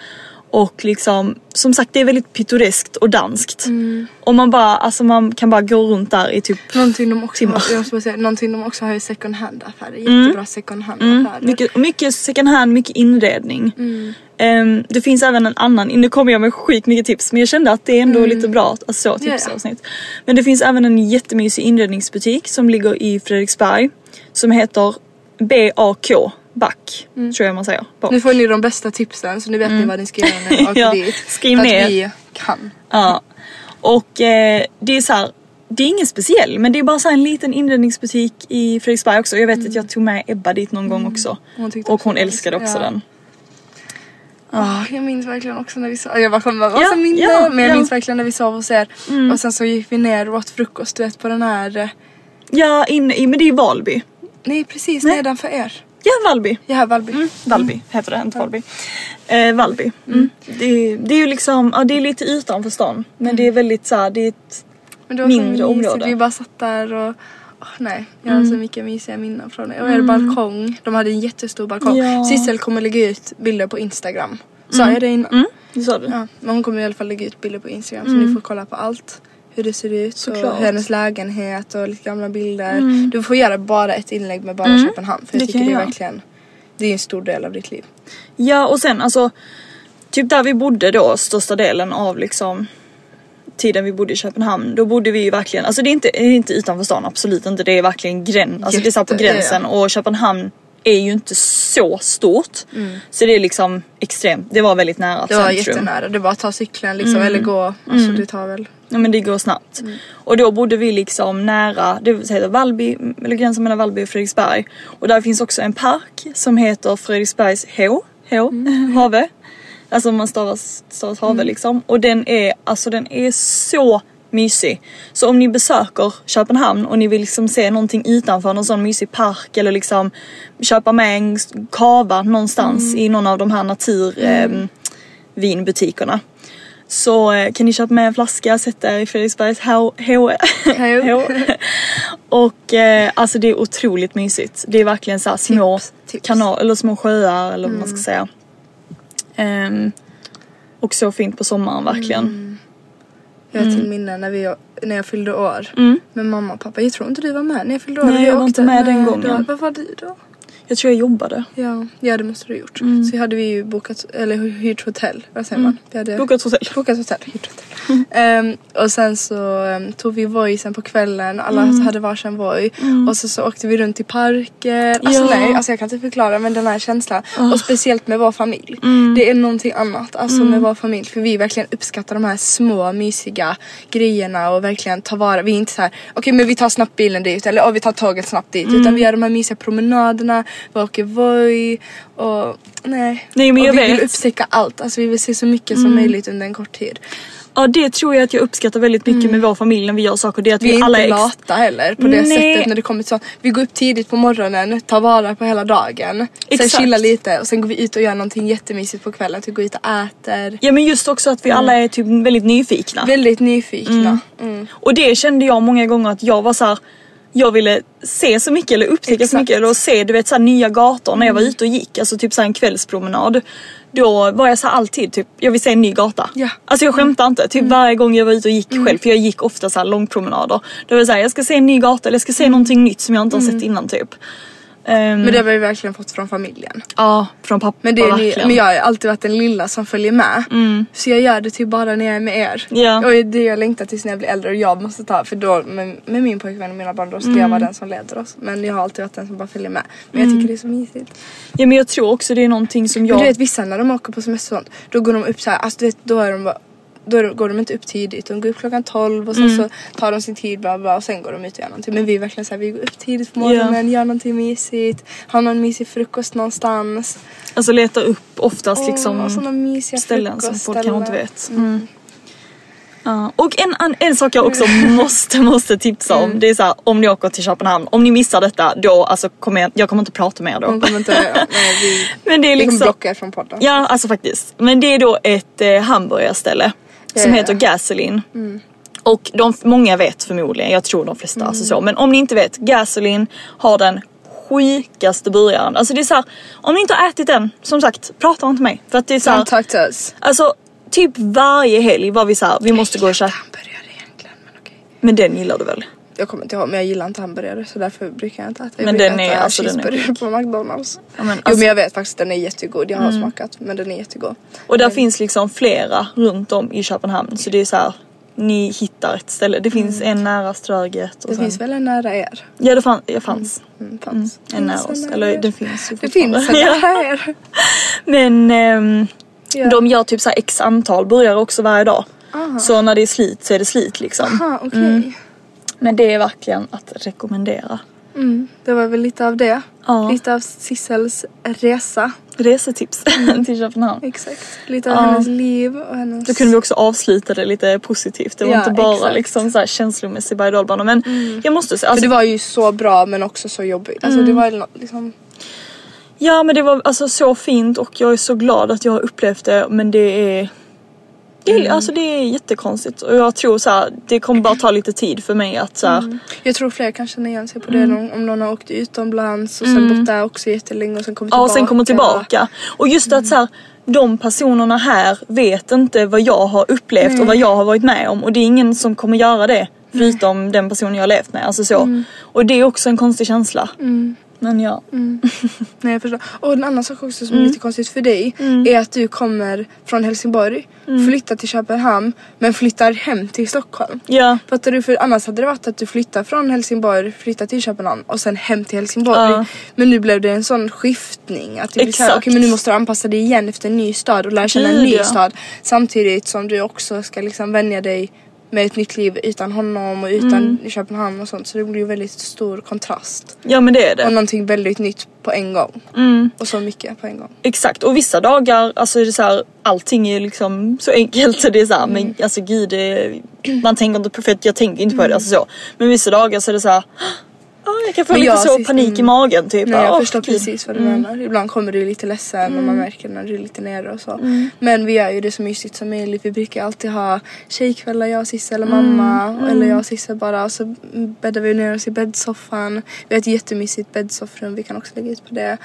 Speaker 3: Och liksom, som sagt det är väldigt pittoreskt och danskt. Och man bara, alltså man kan bara gå runt där i typ...
Speaker 2: Någonting de också
Speaker 3: Timmar.
Speaker 2: har, jag måste bara säga, någonting de också har är second hand affärer.
Speaker 3: Mm.
Speaker 2: Jättebra second hand affärer.
Speaker 3: Mycket, mycket second hand, mycket inredning.
Speaker 2: Mm.
Speaker 3: Ehm, det finns även en annan, nu kommer jag med skit mycket tips men jag kände att det är ändå lite bra att alltså, så,
Speaker 2: Mm. Ja, ja.
Speaker 3: tipsavsnitt. Men det finns även en jättemysig inredningsbutik som ligger i Fredriksberg som heter BAK Back tror jag man säger. Bak.
Speaker 2: Mm. Nu får ni de bästa tipsen så nu vet ni vad ni ska göra när ni åker
Speaker 3: Mm. Ja,
Speaker 2: dit.
Speaker 3: skriv
Speaker 2: För
Speaker 3: ner.
Speaker 2: att vi kan.
Speaker 3: Ja. Och eh, det är så här, det är ingen speciell men det är bara så här en liten inredningsbutik i Fredriksberg också. Jag vet att jag tog med Ebba dit någon gång också.
Speaker 2: Mm. Hon tyckte
Speaker 3: och
Speaker 2: också
Speaker 3: hon
Speaker 2: det var
Speaker 3: älskade
Speaker 2: mysigt.
Speaker 3: också
Speaker 2: Ja.
Speaker 3: den.
Speaker 2: Ah, jag minns verkligen också när vi sov. Jag bara kommer bara,
Speaker 3: Ja,
Speaker 2: ja, minnen.
Speaker 3: ja,
Speaker 2: men jag
Speaker 3: ja. Mm.
Speaker 2: minns verkligen när vi sov hos er. Och sen så gick vi ner och åt frukost du vet på den här. eh,
Speaker 3: Ja, inne i, men det är i Valby.
Speaker 2: Nej precis
Speaker 3: Nej. Mm.
Speaker 2: nedanför er.
Speaker 3: Ja, Valby.
Speaker 2: Ja Valby.
Speaker 3: Valby
Speaker 2: Mm.
Speaker 3: heter det, inte Valby. Eh, Valby. Mm. Det, det är ju liksom, ja det är lite utanför stan. Men
Speaker 2: Mm.
Speaker 3: det är väldigt såhär, det är ett...
Speaker 2: Men det var så
Speaker 3: Mindre
Speaker 2: mysigt.
Speaker 3: område. Mm.
Speaker 2: Vi bara satt där och åh, nej, jag har så mycket mysiga minnen från det. Och er balkong, de hade en jättestor balkong.
Speaker 3: Ja. Mm.
Speaker 2: Sissel kommer lägga ut bilder på Instagram. Sa jag det innan?
Speaker 3: Det sa du?
Speaker 2: Mm. Ja, men hon kommer i alla fall lägga ut bilder på Instagram så ni får kolla på allt. Hur det ser ut
Speaker 3: Mm. Såklart. Mm.
Speaker 2: och hennes lägenhet och lite gamla bilder. Du får göra bara ett inlägg med bara Köpenhamn för jag
Speaker 3: Det
Speaker 2: tycker
Speaker 3: kan
Speaker 2: det är
Speaker 3: jag.
Speaker 2: verkligen det är en stor del av ditt liv.
Speaker 3: Ja och sen alltså, typ där vi bodde då största delen av liksom tiden vi bodde i Köpenhamn, då bodde vi ju verkligen, alltså det är inte, det är inte utanför stan, absolut inte, det är verkligen gräns, alltså det är så här på
Speaker 2: Jätte- ja, ja.
Speaker 3: gränsen och Köpenhamn är ju inte så stort. Så det är liksom extremt, det var väldigt nära
Speaker 2: Mm. Det var
Speaker 3: centrum. Mm.
Speaker 2: jättenära. Det var att ta cykeln liksom eller gå. Alltså det tar väl.
Speaker 3: Ja men det går snabbt. Och då bodde vi liksom nära, det heter Valby, eller gränsen mellan Valby och Fredriksberg. Och där finns också en park som heter Fredriksbergs H, H, Have. Alltså man stavas, stavas Have liksom. Och den är, alltså den är så mysig. Så om ni besöker Köpenhamn och ni vill liksom se någonting utanför någon sån mysig park eller liksom köpa med en kava någonstans i någon av de här natur... ehm, vinbutikerna. Så eh, kan ni köpa med en flaska, sätta er i Fredriksbergs H- H- H. Och eh, alltså det är otroligt mysigt. Det är verkligen så här små
Speaker 2: tips. Mm.
Speaker 3: kanal eller små sjöar eller vad man ska säga. Ehm, och så fint på sommaren verkligen.
Speaker 2: Mm. Jag har
Speaker 3: Mm.
Speaker 2: till minne när, vi, när jag fyllde år med mamma och pappa. Jag tror inte du var med när jag fyllde år.
Speaker 3: Nej,
Speaker 2: Vi
Speaker 3: jag var
Speaker 2: åkte-
Speaker 3: inte med den
Speaker 2: Nej,
Speaker 3: gången.
Speaker 2: det var- Vad var du då?
Speaker 3: Jag tror jag jobbade.
Speaker 2: Ja, ja det måste du ha gjort.
Speaker 3: Mm.
Speaker 2: Så hade vi ju bokat, eller hyrt hotell. Vad säger man? Vi hade
Speaker 3: Bokat Mm. hotell.
Speaker 2: bokat hotell, hyrt hotell. Ehm, och sen så ehm, tog vi voicen på kvällen. Alla
Speaker 3: Mm.
Speaker 2: hade varsin voj. Och så, så åkte vi runt i parker. Alltså
Speaker 3: Ja. Ah.
Speaker 2: nej, alltså jag kan inte förklara men den här känslan. Och speciellt med vår familj.
Speaker 3: Mm.
Speaker 2: Det är någonting annat alltså med vår familj. För vi verkligen uppskattar de här små mysiga grejerna och verkligen tar vara. Vi är inte så här, okej men vi tar snabbt bilen dit eller "Åh, vi tar tåget snabbt dit.
Speaker 3: Mm.
Speaker 2: Utan vi gör de här mysiga promenaderna, vi åker voj och nej.
Speaker 3: Nej, men
Speaker 2: och
Speaker 3: jag
Speaker 2: vi
Speaker 3: vet. Mm.
Speaker 2: vill upptäcka allt. Alltså vi vill se så mycket som möjligt under en kort tid.
Speaker 3: ja, det tror jag att jag uppskattar väldigt mycket med vår familj när vi gör saker. Det är att vi,
Speaker 2: Mm. Vi är
Speaker 3: alla
Speaker 2: inte
Speaker 3: är ex-
Speaker 2: lata heller på det
Speaker 3: Nej.
Speaker 2: sättet när det kommer till sånt. Vi går upp tidigt på morgonen, tar vara på hela dagen.
Speaker 3: Exakt.
Speaker 2: Sen chillar lite och sen går vi ut och gör någonting jättemysigt på kvällen. Att vi går ut och äter.
Speaker 3: Ja men just också att vi alla är typ väldigt nyfikna.
Speaker 2: Väldigt nyfikna. Mm.
Speaker 3: Och det kände jag många gånger att jag var så här. Jag ville se så mycket eller upptäcka så
Speaker 2: Exakt. Mm.
Speaker 3: mycket eller se du vet så här, nya gator när jag var ute och gick. Alltså typ så här, en kvällspromenad. Då var jag så här, alltid typ, jag vill se en ny gata.
Speaker 2: Ja. Mm.
Speaker 3: Alltså jag skämtar inte. Typ varje gång jag var ute och gick själv, för jag gick ofta så här långpromenader. Då var det så här, jag ska se en ny gata eller jag ska se någonting nytt som jag inte har sett innan typ. Ehm,
Speaker 2: Mm. Men det har vi verkligen fått från familjen.
Speaker 3: Ja, från pappa
Speaker 2: Men, det är ni,
Speaker 3: verkligen. Mm.
Speaker 2: men jag har alltid varit den lilla som följer med. Så jag gör det typ bara när jag är med er.
Speaker 3: Ja.
Speaker 2: Och det är det jag längtar tills när jag blir äldre och jag måste ta för då med, med min pojkvän och mina barn då skulle jag
Speaker 3: Mm.
Speaker 2: vara den som leder oss. Men jag har alltid varit den som bara följer med. Men jag tycker det är så mysigt.
Speaker 3: Ja men jag tror också det är någonting som jag...
Speaker 2: Men du vet vissa när de åker på semester och sånt, då går de upp så här, alltså du vet, då är de bara då är de- går de inte upp tidigt, de går upp klockan 12 och sen
Speaker 3: Mm.
Speaker 2: så tar de sin tid bla, bla, och sen går de ut och gör någonting. Men vi är verkligen såhär, vi går upp tidigt på morgonen,
Speaker 3: Ja.
Speaker 2: gör någonting mysigt, har någon mysig frukost någonstans.
Speaker 3: Alltså leta upp oftast
Speaker 2: Åh,
Speaker 3: liksom
Speaker 2: sådana mysiga
Speaker 3: ställen som folk kanske inte
Speaker 2: frukostställen.
Speaker 3: vet. Mm. Ja, och en, an- en sak jag också måste, måste tipsa om det är så här, om ni åker till Köpenhamn, om ni missar detta då alltså kommer jag, jag kommer inte prata med er då.
Speaker 2: De kommer inte, nej, vi,
Speaker 3: Men det är
Speaker 2: vi kommer
Speaker 3: liksom,
Speaker 2: blocka er från podden.
Speaker 3: ja alltså faktiskt. Men det är då ett eh, hamburgerställe som
Speaker 2: Ja, ja,
Speaker 3: heter
Speaker 2: ja.
Speaker 3: Gasoline. Och de, många vet förmodligen, jag tror de flesta alltså så. Men om ni inte vet, Gasoline har den sjukaste burgaren. Alltså det är så här, om ni inte har ätit den, som sagt, prata inte med mig. För att det är så här,
Speaker 2: Don't talk to us.
Speaker 3: Alltså typ varje helg var vi såhär, vi måste gå och käka.
Speaker 2: Han börjar egentligen men okej.
Speaker 3: Men den gillar du väl?
Speaker 2: Jag kommer inte ihåg men jag gillar inte hamburgare så därför brukar jag inte äta. Jag
Speaker 3: Men
Speaker 2: brukar
Speaker 3: den är-
Speaker 2: äta
Speaker 3: alltså, den är
Speaker 2: cheeseburgare på McDonalds.
Speaker 3: Ja, men
Speaker 2: Jo
Speaker 3: alltså- Mm.
Speaker 2: men jag vet faktiskt den är jättegod, jag har smakat men den är jättegod.
Speaker 3: Och
Speaker 2: Mm.
Speaker 3: där finns liksom flera runt om i Köpenhamn så det är såhär, ni hittar ett ställe. Det finns en nära Ströget.
Speaker 2: Mm.
Speaker 3: Och
Speaker 2: Det
Speaker 3: sen,
Speaker 2: finns väl en nära er?
Speaker 3: Ja det fanns. Ja, fanns.
Speaker 2: Mm, fanns.
Speaker 3: En nära oss. Eller den finns ju
Speaker 2: Det finns en
Speaker 3: fortfarande. Ja.
Speaker 2: nära er.
Speaker 3: Men ehm,
Speaker 2: Ja.
Speaker 3: de gör typ såhär x antal burgare också varje dag. Så när det är slit så är det slit liksom.
Speaker 2: Ah, okej.
Speaker 3: Men det är verkligen att rekommendera.
Speaker 2: Mm, det var väl lite av det.
Speaker 3: Ja.
Speaker 2: Lite av Sissels resa.
Speaker 3: Resetips
Speaker 2: Mm.
Speaker 3: till Köpenhamn.
Speaker 2: Exakt. Lite av hennes liv och hennes...
Speaker 3: Då kunde vi också avsluta det lite positivt. Det var
Speaker 2: Ja,
Speaker 3: inte bara
Speaker 2: exakt. Mm.
Speaker 3: liksom så här känslomässig berg och dalbana. Men jag måste säga,
Speaker 2: För
Speaker 3: alltså,
Speaker 2: det var ju så bra men också så jobbigt. Alltså
Speaker 3: Mm.
Speaker 2: det var ju nå- liksom...
Speaker 3: ja men det var alltså så fint och jag är så glad att jag har upplevt det. Men det är, det
Speaker 2: Mm.
Speaker 3: är, alltså, det är jättekonstigt. Och jag tror så här, det kommer bara ta lite tid för mig att så här,
Speaker 2: Jag tror fler kan känna igen sig på det
Speaker 3: Mm.
Speaker 2: om- om någon har åkt utomlands och sen bott där också jättelänge och sen kommer
Speaker 3: ja,
Speaker 2: tillbaka.
Speaker 3: och sen komma tillbaka. Och just att så här, de personerna här vet inte vad jag har upplevt och
Speaker 2: Mm.
Speaker 3: vad jag har varit med om. Och det är ingen som kommer göra det. Förutom den personen jag har levt med. Alltså så.
Speaker 2: Mm.
Speaker 3: Och det är också en konstig känsla. Men ja.
Speaker 2: Nej jag förstår. Och en annan sak också
Speaker 3: Mm.
Speaker 2: som är lite konstigt för dig är att du kommer från Helsingborg,
Speaker 3: Mm.
Speaker 2: flyttar till Köpenhamn men flyttar hem till Stockholm.
Speaker 3: Ja.
Speaker 2: Fattar du? För annars hade det varit att du flyttar från Helsingborg, flyttar till Köpenhamn och sen hem till Helsingborg.
Speaker 3: Ja.
Speaker 2: Men nu blev det en sån skiftning. Att det blir såhär,
Speaker 3: Exakt.
Speaker 2: okej men nu måste du anpassa dig igen efter en ny stad och lära känna en
Speaker 3: Gud,
Speaker 2: ny
Speaker 3: ja.
Speaker 2: stad. Samtidigt som du också ska liksom vänja dig med ett nytt liv utan honom och utan
Speaker 3: Mm.
Speaker 2: Köpenhamn och sånt. Så det blir ju väldigt stor kontrast.
Speaker 3: ja Mm. men det är
Speaker 2: Och
Speaker 3: det.
Speaker 2: någonting väldigt nytt på en gång. Och så mycket på en gång.
Speaker 3: Exakt och vissa dagar, alltså är det så här, allting är liksom så enkelt. Så det är så här,
Speaker 2: Mm.
Speaker 3: men alltså gud, det, man tänker inte på för att jag tänker inte på det. Alltså så. Men vissa dagar så är det så här, "Ah, jag kan få
Speaker 2: Men
Speaker 3: lite
Speaker 2: jag
Speaker 3: så
Speaker 2: sist-
Speaker 3: panik i
Speaker 2: mm.
Speaker 3: magen typ.
Speaker 2: Nej, jag
Speaker 3: Åh,
Speaker 2: förstår
Speaker 3: gud. Mm.
Speaker 2: precis vad du menar. Ibland kommer du lite ledsen och man märker när du är lite nere och så.
Speaker 3: Mm.
Speaker 2: Men vi gör ju det så mysigt som möjligt. Vi brukar alltid ha tjejkvällar jag och Sissel och mamma.
Speaker 3: Mm.
Speaker 2: Eller jag och Sissel bara. Och så bäddar vi ner oss i bäddsoffan. Vi har ett jättemysigt bäddsoffrum. Vi kan också lägga ut på det.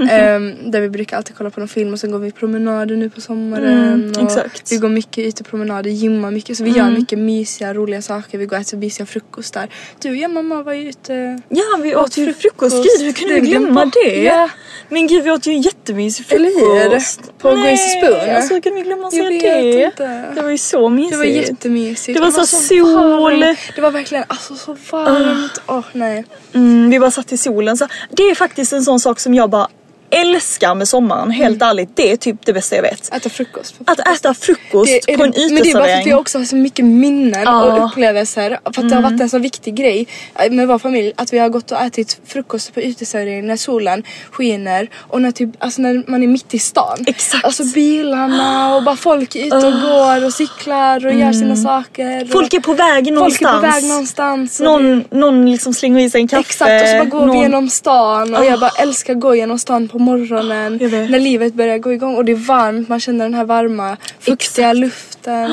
Speaker 2: Ehm, där vi brukar alltid kolla på någon film och sen går vi promenader nu på sommaren.
Speaker 3: Mm,
Speaker 2: Ehm, och
Speaker 3: exakt. Mm.
Speaker 2: Vi går mycket utepromenader, gymmar mycket. Så vi gör mycket mysiga, roliga saker. Vi går och äter mysiga frukostar. Du och jag mamma var ju ute
Speaker 3: Ja vi åt ju frukost,
Speaker 2: Typ frukost.
Speaker 3: gud hur kunde vi
Speaker 2: Dagen
Speaker 3: glömma
Speaker 2: på-
Speaker 3: det?
Speaker 2: Ja.
Speaker 3: Men gud vi åt ju jättemysig
Speaker 2: Eller hur?
Speaker 3: frukost.
Speaker 2: På Gracie Spoon.
Speaker 3: alltså hur kunde vi glömma att
Speaker 2: Jag
Speaker 3: säga
Speaker 2: vet
Speaker 3: det?
Speaker 2: inte.
Speaker 3: Det var ju så mysigt.
Speaker 2: Det var jättemysigt.
Speaker 3: Det var så Ah. sol.
Speaker 2: varmt. Det var verkligen alltså så varmt. Åh nej.
Speaker 3: Mm, vi bara satt i solen. Så det är faktiskt en sån sak som jag bara älskar med sommaren, helt
Speaker 2: Mm.
Speaker 3: ärligt, det är typ det bästa jag vet.
Speaker 2: Äta frukost. På
Speaker 3: Att äta frukost
Speaker 2: Det är
Speaker 3: på
Speaker 2: det-
Speaker 3: en
Speaker 2: Men det är bara för att
Speaker 3: uteservering. Ah. Mm.
Speaker 2: jag också har så mycket minnen
Speaker 3: Ja.
Speaker 2: och upplevelser. För att det har varit en så viktig grej eh, med vår familj. Att vi har gått och ätit frukost på uteserveringen när solen skiner och när, typ, alltså när man är mitt i stan.
Speaker 3: Exakt. Ah.
Speaker 2: Alltså bilarna och bara folk är ute och går och cyklar och gör sina saker.
Speaker 3: Mm. Folk är på väg
Speaker 2: och, folk
Speaker 3: någonstans.
Speaker 2: är på väg någonstans. och
Speaker 3: Någon, någon liksom slänger i sig en kaffe.
Speaker 2: Exakt och så bara går
Speaker 3: någon- Ah.
Speaker 2: vi genom stan och jag bara älskar att gå genom stan på morgonen
Speaker 3: Jag vet.
Speaker 2: när livet börjar gå igång och det är varmt, man känner den här varma fuktiga luften.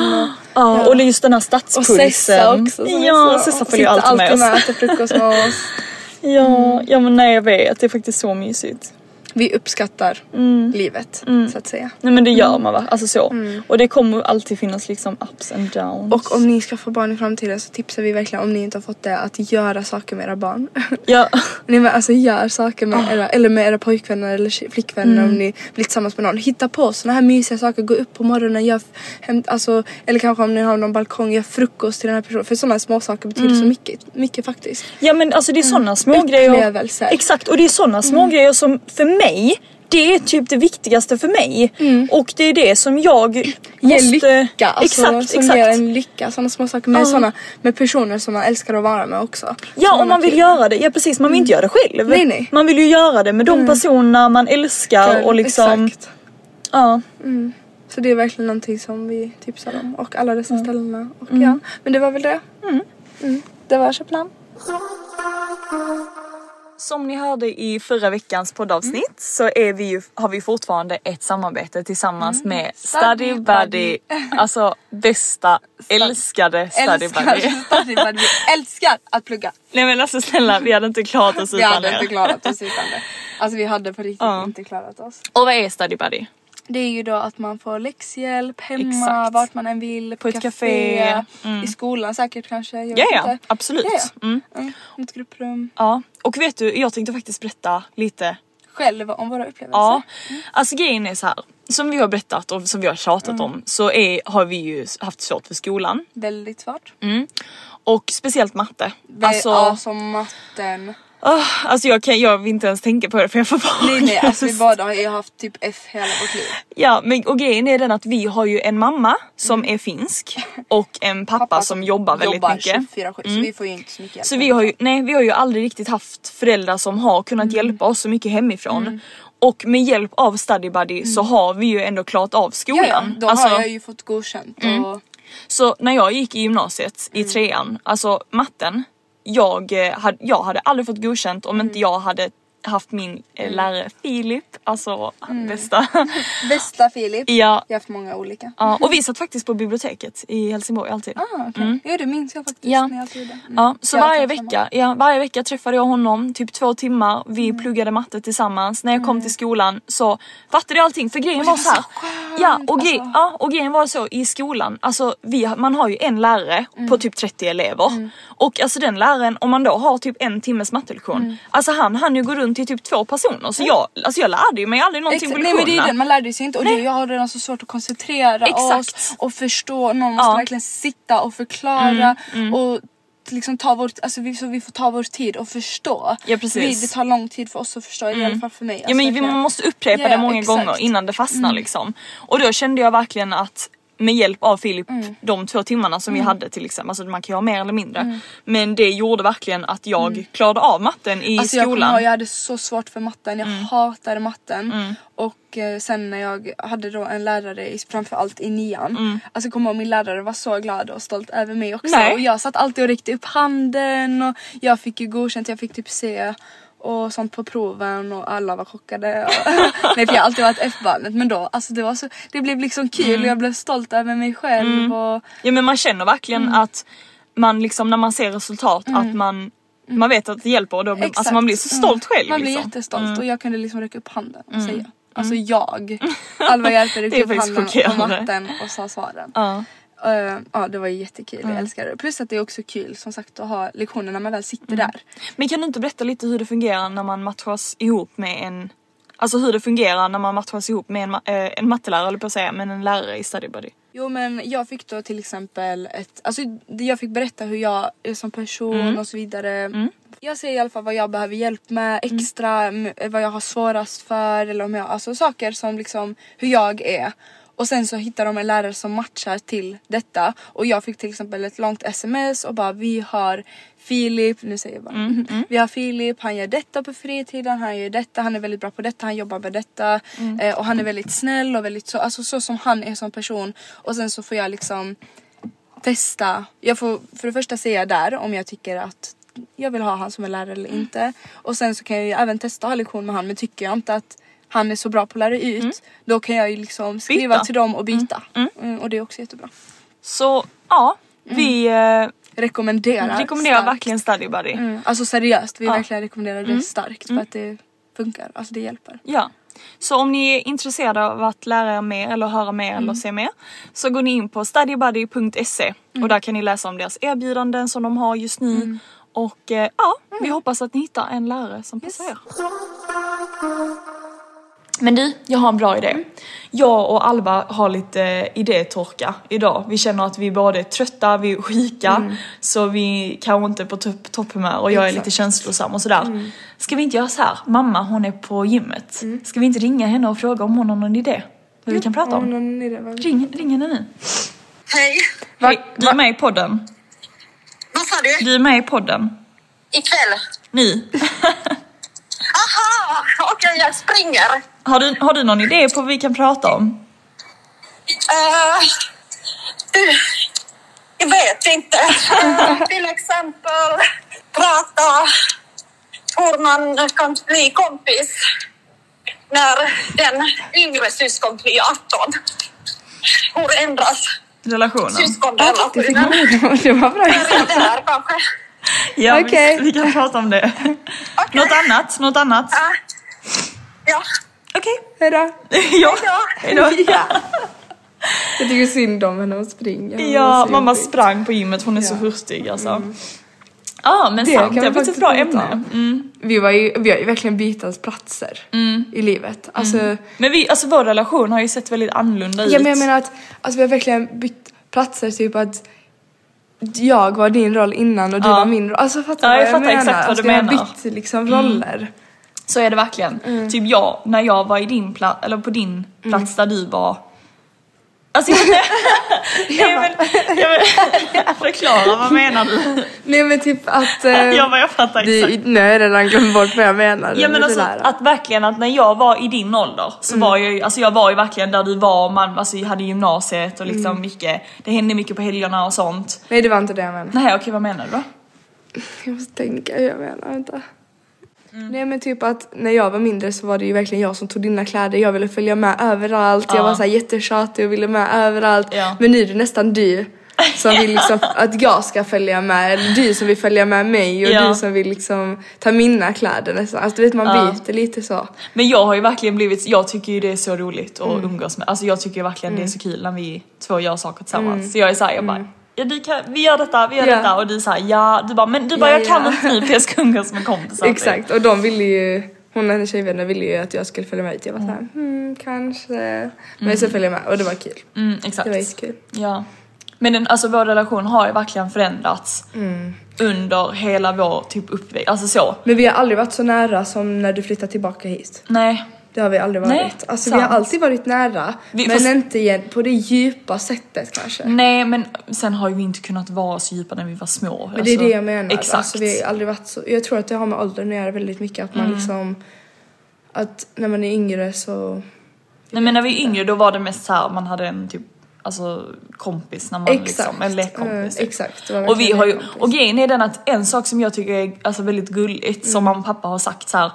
Speaker 2: Och,
Speaker 3: Ja, och just den här
Speaker 2: och
Speaker 3: stadspulsen.
Speaker 2: Sessa också. som är
Speaker 3: Ah, Ja,
Speaker 2: så-
Speaker 3: Sessa
Speaker 2: och
Speaker 3: följer ju
Speaker 2: sitter
Speaker 3: alltid med oss.
Speaker 2: och äter frukost med Mm. oss.
Speaker 3: Ja, ja men nej jag vet, det är faktiskt så mysigt.
Speaker 2: Vi uppskattar
Speaker 3: Mm.
Speaker 2: livet så att säga.
Speaker 3: Nej men det
Speaker 2: Mm.
Speaker 3: gör man va, alltså så. Och det kommer alltid finnas liksom ups and downs.
Speaker 2: Och om ni skaffar barn i framtiden så tipsar vi verkligen om ni inte har fått det att göra saker med era barn.
Speaker 3: ja,
Speaker 2: Nej men alltså gör saker
Speaker 3: Ah.
Speaker 2: med era, eller med era pojkvänner eller tje- flickvänner
Speaker 3: Mm.
Speaker 2: om ni blir tillsammans med någon. Hitta på såna här mysiga saker, gå upp på morgonen, gör f- hem, alltså, eller kanske om ni har någon balkong, gör frukost till den här personen. För sådana små saker betyder
Speaker 3: Mm.
Speaker 2: så mycket, mycket faktiskt.
Speaker 3: ja men alltså det är sådana smågrejer.
Speaker 2: Mm. Upplevelser. Mm.
Speaker 3: Exakt, och det är sådana smågrejer som för mig, det är typ det viktigaste för mig. Och det är det som jag
Speaker 2: Mm. Ge
Speaker 3: måste...
Speaker 2: lycka, alltså,
Speaker 3: exakt,
Speaker 2: som
Speaker 3: exakt.
Speaker 2: ger en lycka. Sådana små saker med, såna, med personer som man älskar att vara med också.
Speaker 3: Ja
Speaker 2: Som
Speaker 3: om man vill
Speaker 2: typ-
Speaker 3: göra det, ja precis man vill inte göra det själv.
Speaker 2: Mm. Nej, nej. Mm.
Speaker 3: Man vill ju göra det med de personerna man älskar och liksom...
Speaker 2: Exakt.
Speaker 3: Ja.
Speaker 2: Så det är verkligen någonting som vi tipsar om och alla dessa ställena. Och
Speaker 3: Mm.
Speaker 2: ja, men det var väl det. Mm. Det var Köpenhamn.
Speaker 3: Som ni hörde i förra veckans poddavsnitt så är vi ju, har vi fortfarande ett samarbete tillsammans med Study
Speaker 2: Study
Speaker 3: Buddy.
Speaker 2: Buddy.
Speaker 3: Alltså bästa, älskade Study Buddy.
Speaker 2: Buddy. Vi älskar att plugga.
Speaker 3: Nej men alltså snälla vi hade inte klarat oss
Speaker 2: Vi
Speaker 3: utan
Speaker 2: hade
Speaker 3: er.
Speaker 2: inte klarat oss utan det. Alltså vi hade på riktigt
Speaker 3: Ja.
Speaker 2: inte klarat oss.
Speaker 3: Och vad är Study Buddy?
Speaker 2: Det är ju då att man får läxhjälp hemma,
Speaker 3: Exakt.
Speaker 2: vart man än vill, på
Speaker 3: ett
Speaker 2: ett
Speaker 3: café,
Speaker 2: café, i skolan säkert kanske. Jag
Speaker 3: Mm. Ja
Speaker 2: vet
Speaker 3: ja,
Speaker 2: inte.
Speaker 3: absolut.
Speaker 2: Ja, ja.
Speaker 3: Mm.
Speaker 2: Mm. Ett grupprum.
Speaker 3: ja. Och vet du, jag tänkte faktiskt berätta lite
Speaker 2: Själv om våra upplevelser.
Speaker 3: Ja, alltså grejen är så här. Som vi har berättat och som vi har tjatat
Speaker 2: Mm.
Speaker 3: om så är, har vi ju haft svårt för skolan.
Speaker 2: Väldigt svårt.
Speaker 3: Och speciellt matte. Mm. Alltså,
Speaker 2: ja, som matten.
Speaker 3: ah, alltså jag, kan, jag vill inte ens tänka på det för jag får bara
Speaker 2: Nej nej, alltså vi båda har ju haft typ F hela vårt liv.
Speaker 3: Ja, men, och grejen är den att vi har ju en mamma som
Speaker 2: Mm.
Speaker 3: är finsk och en pappa, som jobbar väldigt mycket. Mm.
Speaker 2: 24-7 så vi får ju inte så mycket hjälp.
Speaker 3: Så vi har, ju, nej, vi har ju aldrig riktigt haft föräldrar som har kunnat
Speaker 2: Mm.
Speaker 3: hjälpa oss så mycket hemifrån. Och med hjälp av Study Buddy så har vi ju ändå klarat av skolan.
Speaker 2: Mm. Ja, ja, då
Speaker 3: Alltså- Mm.
Speaker 2: har jag ju fått godkänt och
Speaker 3: Så när jag gick i gymnasiet
Speaker 2: Mm.
Speaker 3: i trean, alltså matten, jag, eh, hade, jag hade aldrig fått godkänt om
Speaker 2: Mm.
Speaker 3: inte jag hade haft min eh, lärare Filip, alltså
Speaker 2: Mm.
Speaker 3: han bästa.
Speaker 2: bästa Filip.
Speaker 3: ja,
Speaker 2: Jag har haft många olika.
Speaker 3: ja, och vi satt faktiskt på biblioteket i Helsingborg alltid.
Speaker 2: Ah, okay. Jo det minns jag faktiskt
Speaker 3: Mm. Ja.
Speaker 2: när jag gjorde. Mm.
Speaker 3: Ja, så
Speaker 2: Jag har
Speaker 3: varje
Speaker 2: tänkt samma. Mm.
Speaker 3: vecka, ja, varje vecka träffade jag honom, typ två timmar, vi pluggade matte tillsammans. När jag kom till skolan så fattade jag allting för grejen var så här. Ja och, grej,
Speaker 2: alltså.
Speaker 3: ja och grejen var så i skolan, alltså vi, har- man har ju en lärare
Speaker 2: Mm.
Speaker 3: på typ 30 elever. Och alltså den läraren, om man då har typ en timmes mattelektion,
Speaker 2: Mm.
Speaker 3: alltså han hann ju gå runt till typ två personer. Så jag, alltså jag lärde ju mig aldrig någonting
Speaker 2: Exakt,
Speaker 3: på
Speaker 2: nej men det är
Speaker 3: lektionerna.
Speaker 2: ju den, man lärde sig inte och det, jag har redan så svårt att koncentrera
Speaker 3: Exakt.
Speaker 2: oss och förstå. Någon måste
Speaker 3: Ja. Mm,
Speaker 2: verkligen sitta och förklara och liksom ta vår, alltså vi, så vi får ta vår tid och förstå.
Speaker 3: Ja, precis. Mm.
Speaker 2: Vi, det tar lång tid för oss att förstå, i alla fall för mig.
Speaker 3: Ja
Speaker 2: alltså,
Speaker 3: men vi
Speaker 2: verkligen.
Speaker 3: måste upprepa
Speaker 2: Ja,
Speaker 3: det många
Speaker 2: exakt. Mm.
Speaker 3: gånger innan det fastnar liksom. Och då kände jag verkligen att med hjälp av Filip,
Speaker 2: Mm.
Speaker 3: de två timmarna som vi hade till exempel, alltså man kan ju ha mer eller mindre.
Speaker 2: Mm.
Speaker 3: Men det gjorde verkligen att jag klarade av matten i
Speaker 2: Alltså jag, kommer
Speaker 3: skolan. Mm.
Speaker 2: ihåg, jag hade så svårt för matten, jag hatade matten. Och eh, sen när jag hade då en lärare i, framförallt i nian. Alltså kommer ihåg min lärare var så glad och stolt över mig också.
Speaker 3: Mm. Nej.
Speaker 2: Och jag satt alltid och räckte upp handen och jag fick ju godkänt, jag fick typ C och sånt på proven och alla var chockade. Och Nej för jag har alltid varit F-barnet men då alltså det var så, det blev liksom
Speaker 3: Mm.
Speaker 2: kul och jag blev stolt över mig själv och
Speaker 3: Ja men man känner verkligen
Speaker 2: Mm.
Speaker 3: att man liksom när man ser resultat att man man vet att det hjälper och då blir, alltså
Speaker 2: Mm. Exakt.
Speaker 3: man blir så
Speaker 2: Mm.
Speaker 3: stolt själv.
Speaker 2: Man blir
Speaker 3: liksom. Mm.
Speaker 2: jättestolt och jag kunde liksom räcka upp handen och säga. Alltså jag. Alva Hjälte
Speaker 3: Det är
Speaker 2: räckte upp
Speaker 3: faktiskt
Speaker 2: handen på
Speaker 3: chockerande.
Speaker 2: matten och sa svaren.
Speaker 3: Ja. Mm.
Speaker 2: Eh, ja det var jättekul, jag älskar det. Plus att det är också kul som sagt att ha lektioner när man väl sitter
Speaker 3: Mm.
Speaker 2: där.
Speaker 3: Men kan du inte berätta lite hur det fungerar när man matchas ihop med en Alltså hur det fungerar när man matchas ihop med en, ma- eh, en mattelärare, eller på att säga, men en lärare i study buddy.
Speaker 2: Jo men jag fick då
Speaker 3: Mm.
Speaker 2: till exempel ett, alltså det- jag fick berätta hur jag är som person och så vidare. Jag ser i alla fall vad jag behöver hjälp med extra, m- vad jag har svårast för eller om jag, alltså saker som liksom hur jag är. Och sen så hittar de en lärare som matchar till detta och jag fick till exempel ett långt sms och bara vi har Filip, nu säger jag bara. Vi har Filip, han gör detta på fritiden, han gör detta, han är väldigt bra på detta, han jobbar med detta eh, och han är väldigt snäll och väldigt så, alltså så som han är som person. Och sen så får jag liksom testa. Jag får för det första säga där om jag tycker att jag vill ha han som en lärare eller
Speaker 3: Mm.
Speaker 2: inte. Och sen så kan jag ju även testa ha lektion med han men tycker jag inte att han är så bra på att lära ut då kan jag ju liksom skriva
Speaker 3: Mm. Byta.
Speaker 2: till dem och byta. Mm, och det är också jättebra.
Speaker 3: Så ja,
Speaker 2: Mm.
Speaker 3: vi eh,
Speaker 2: Rekommenderar.
Speaker 3: Mm, rekommenderar
Speaker 2: starkt.
Speaker 3: verkligen Study Buddy.
Speaker 2: Mm, alltså seriöst, vi
Speaker 3: Ja. Mm.
Speaker 2: verkligen rekommenderar det starkt för att det funkar. Alltså det hjälper.
Speaker 3: Ja. Så om ni är intresserade av att lära er mer eller höra mer
Speaker 2: Mm.
Speaker 3: eller se mer så går ni in på studybuddy.se
Speaker 2: Mm.
Speaker 3: och där kan ni läsa om deras erbjudanden som de har just nu. Och eh, ja, vi
Speaker 2: Mm.
Speaker 3: hoppas att ni hittar en lärare som passar er. Men du, jag har en bra idé. Jag och Alba har lite eh, idétorka idag. Vi känner att vi både är trötta, vi är sjuka, så vi kanske inte är på topp- topphumör och jag är lite känslosam och sådär. Ska vi inte göra så här? Mamma hon är på gymmet. Ska vi inte ringa henne och fråga om hon har någon idé? Vad vi kan prata Mm. om?
Speaker 2: Någon idé vad-
Speaker 3: Ring, ring henne nu.
Speaker 4: Hej.
Speaker 3: Hej, du är med i podden.
Speaker 4: Vad sa du?
Speaker 3: Du är med i podden.
Speaker 4: Ikväll?
Speaker 3: Nu.
Speaker 4: Aha! Okej, jag springer.
Speaker 3: Har du, har du någon idé på vad vi kan prata om?
Speaker 4: Eh, du, jag vet inte. Eh, till exempel prata hur man kan bli kompis när den yngre syskon blir 18. Hur ändras
Speaker 3: Relationen?
Speaker 4: syskonrelationen?
Speaker 2: det var bra.
Speaker 4: Börja där kanske.
Speaker 3: Ja, vi-
Speaker 2: Okej.
Speaker 3: vi, kan prata om det. Något annat? Något annat?
Speaker 4: Ja. Ja.
Speaker 3: Okej.
Speaker 2: Hejdå.
Speaker 3: Ja. Hejdå.
Speaker 2: Jag tycker synd om henne, hon springer. Hon var
Speaker 3: Ja,
Speaker 2: så
Speaker 3: mamma
Speaker 2: jobbig.
Speaker 3: sprang på gymmet. Hon är så hurtig alltså. Ja, men
Speaker 2: Mm. Det
Speaker 3: sant.
Speaker 2: kan vi
Speaker 3: Det var ett
Speaker 2: faktiskt
Speaker 3: bra
Speaker 2: prata
Speaker 3: ämne. Mm.
Speaker 2: om. Vi, var ju, vi har ju verkligen bytt platser i livet. Alltså,
Speaker 3: Men vi, alltså vår relation har ju sett väldigt annorlunda ut.
Speaker 2: ja, men jag menar att alltså, vi har verkligen bytt platser. Typ att jag var din roll innan och du
Speaker 3: Ja.
Speaker 2: var min roll. Alltså fattar
Speaker 3: Ja,
Speaker 2: du
Speaker 3: jag
Speaker 2: vad jag
Speaker 3: fattar
Speaker 2: menar?
Speaker 3: exakt vad du
Speaker 2: alltså, Vi
Speaker 3: menar. Mm.
Speaker 2: har bytt liksom roller.
Speaker 3: Så är det verkligen.
Speaker 2: Mm.
Speaker 3: Typ jag, när jag var i din pla- eller på din plats där du var Alltså jag jag vill, jag vill förklara, vad menar du?
Speaker 2: Nej men typ att... eh,
Speaker 3: Jag bara, jag fattar exakt.
Speaker 2: du, nu har jag redan glömt bort vad jag menar.
Speaker 3: Ja
Speaker 2: med
Speaker 3: men
Speaker 2: det
Speaker 3: alltså
Speaker 2: där.
Speaker 3: att verkligen att när jag var i din ålder så
Speaker 2: Mm.
Speaker 3: var jag ju, alltså jag var ju verkligen där du var, man alltså, jag hade gymnasiet och
Speaker 2: Mm.
Speaker 3: liksom mycket, det hände mycket på helgerna och sånt.
Speaker 2: Nej det var inte det jag menade.
Speaker 3: Nej okej vad menar du då?
Speaker 2: Jag måste tänka hur jag menar, vänta.
Speaker 3: Mm.
Speaker 2: Nej men typ att när jag var mindre så var det ju verkligen jag som tog dina kläder, jag ville följa med överallt,
Speaker 3: Ja.
Speaker 2: jag var såhär jättetjatig och ville med överallt.
Speaker 3: Ja.
Speaker 2: Men nu är det nästan du som vill liksom att jag ska följa med, eller du som vill följa med mig och
Speaker 3: Ja.
Speaker 2: du som vill liksom ta mina kläder nästan. Alltså du vet man
Speaker 3: Ja.
Speaker 2: byter lite så.
Speaker 3: Men jag har ju verkligen blivit, jag tycker ju det är så roligt att
Speaker 2: Mm.
Speaker 3: umgås med, alltså jag tycker ju verkligen det är så kul när vi två gör saker tillsammans. Så jag är såhär, jag bara Ja, du kan, vi gör detta, vi gör
Speaker 2: Mm. Ja.
Speaker 3: detta och du säger ja, du bara men du bara
Speaker 2: Ja,
Speaker 3: jag kan
Speaker 2: ja.
Speaker 3: inte nu för jag ska umgås med kompisar.
Speaker 2: Exakt och de ville ju hon och hennes tjejvänner ville ju att jag skulle följa med ut. Jag var såhär, hmm, kanske. Men så följde jag med och det var kul.
Speaker 3: Mm, exakt.
Speaker 2: Det var jättekul.
Speaker 3: Ja. Men den, alltså vår relation har ju verkligen förändrats
Speaker 2: Mm.
Speaker 3: under hela vår typ uppväxt, alltså så.
Speaker 2: Men vi har aldrig varit så nära som när du flyttade tillbaka hit.
Speaker 3: Nej.
Speaker 2: Det har vi aldrig varit.
Speaker 3: Nej,
Speaker 2: alltså
Speaker 3: sant.
Speaker 2: vi har alltid varit nära
Speaker 3: Vi-
Speaker 2: men
Speaker 3: fast- Mm,
Speaker 2: inte igen, på det djupa sättet kanske.
Speaker 3: Nej men sen har ju vi inte kunnat vara så djupa när vi var små.
Speaker 2: men det är det jag menar.
Speaker 3: Exakt. Mm.
Speaker 2: Alltså, vi har aldrig varit så, jag tror att det har med åldern att göra väldigt mycket att man liksom att när man är yngre så
Speaker 3: Nej men när vi var yngre då var det mest såhär man hade en typ alltså kompis när man liksom, en lekkompis.
Speaker 2: Eh,
Speaker 3: typ.
Speaker 2: exakt. det var
Speaker 3: Och, vi
Speaker 2: verkligen
Speaker 3: har ju,
Speaker 2: lekkompis.
Speaker 3: och grejen är den att en sak som jag tycker är alltså, väldigt gulligt
Speaker 2: Mm.
Speaker 3: som mamma och pappa har sagt så här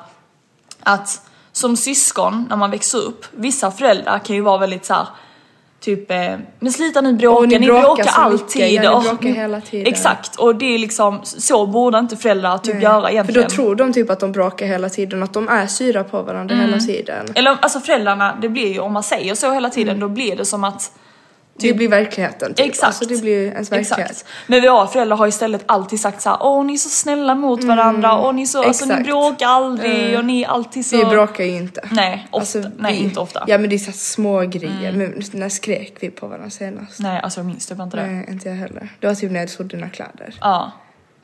Speaker 3: att som syskon när man växer upp, vissa föräldrar kan ju vara väldigt så här typ eh, men slita nu bråka,
Speaker 2: Och
Speaker 3: ni,
Speaker 2: ni
Speaker 3: bråkar,
Speaker 2: bråkar så
Speaker 3: alltid.
Speaker 2: mycket, ja, ni
Speaker 3: och-
Speaker 2: bråkar hela tiden.
Speaker 3: Exakt och det är liksom så borde inte föräldrar typ göra
Speaker 2: För
Speaker 3: egentligen.
Speaker 2: då tror de typ att de bråkar hela tiden att de är syra på varandra
Speaker 3: Mm.
Speaker 2: hela tiden.
Speaker 3: Eller alltså föräldrarna, det blir ju om man säger så hela tiden
Speaker 2: Mm.
Speaker 3: då blir det som att
Speaker 2: Det blir verkligheten. Typ.
Speaker 3: Exakt.
Speaker 2: Alltså, det blir ens verklighet.
Speaker 3: Exakt. Men våra föräldrar har istället alltid sagt så här: åh ni är så snälla mot varandra, åh ni är så, alltså ni
Speaker 2: Mm. Exakt. Mm.
Speaker 3: bråkar aldrig och ni är alltid så...
Speaker 2: Vi bråkar ju inte. Alltså,
Speaker 3: Nej, ofta. Nej, inte ofta.
Speaker 2: Ja men det är så här små grejer. Men när skrek vi på varandra senast? Mm.
Speaker 3: Nej alltså jag minns typ inte det.
Speaker 2: Nej, inte jag heller. Det var typ när jag tog dina kläder.
Speaker 3: Ja.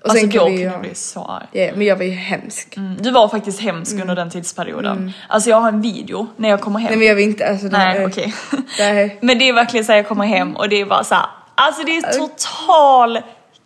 Speaker 2: Och
Speaker 3: alltså
Speaker 2: sen kan
Speaker 3: jag
Speaker 2: vi
Speaker 3: kunde
Speaker 2: ju-
Speaker 3: bli så arg.
Speaker 2: Ja, men jag var ju hemsk.
Speaker 3: Mm, Du var faktiskt hemsk under den tidsperioden. Alltså jag har en video när jag kommer hem.
Speaker 2: Mm. Nej men jag var inte, alltså det-
Speaker 3: Nej,
Speaker 2: eh,
Speaker 3: okej.
Speaker 2: Nej.
Speaker 3: Men det är verkligen såhär jag kommer hem och det är bara såhär, alltså det är total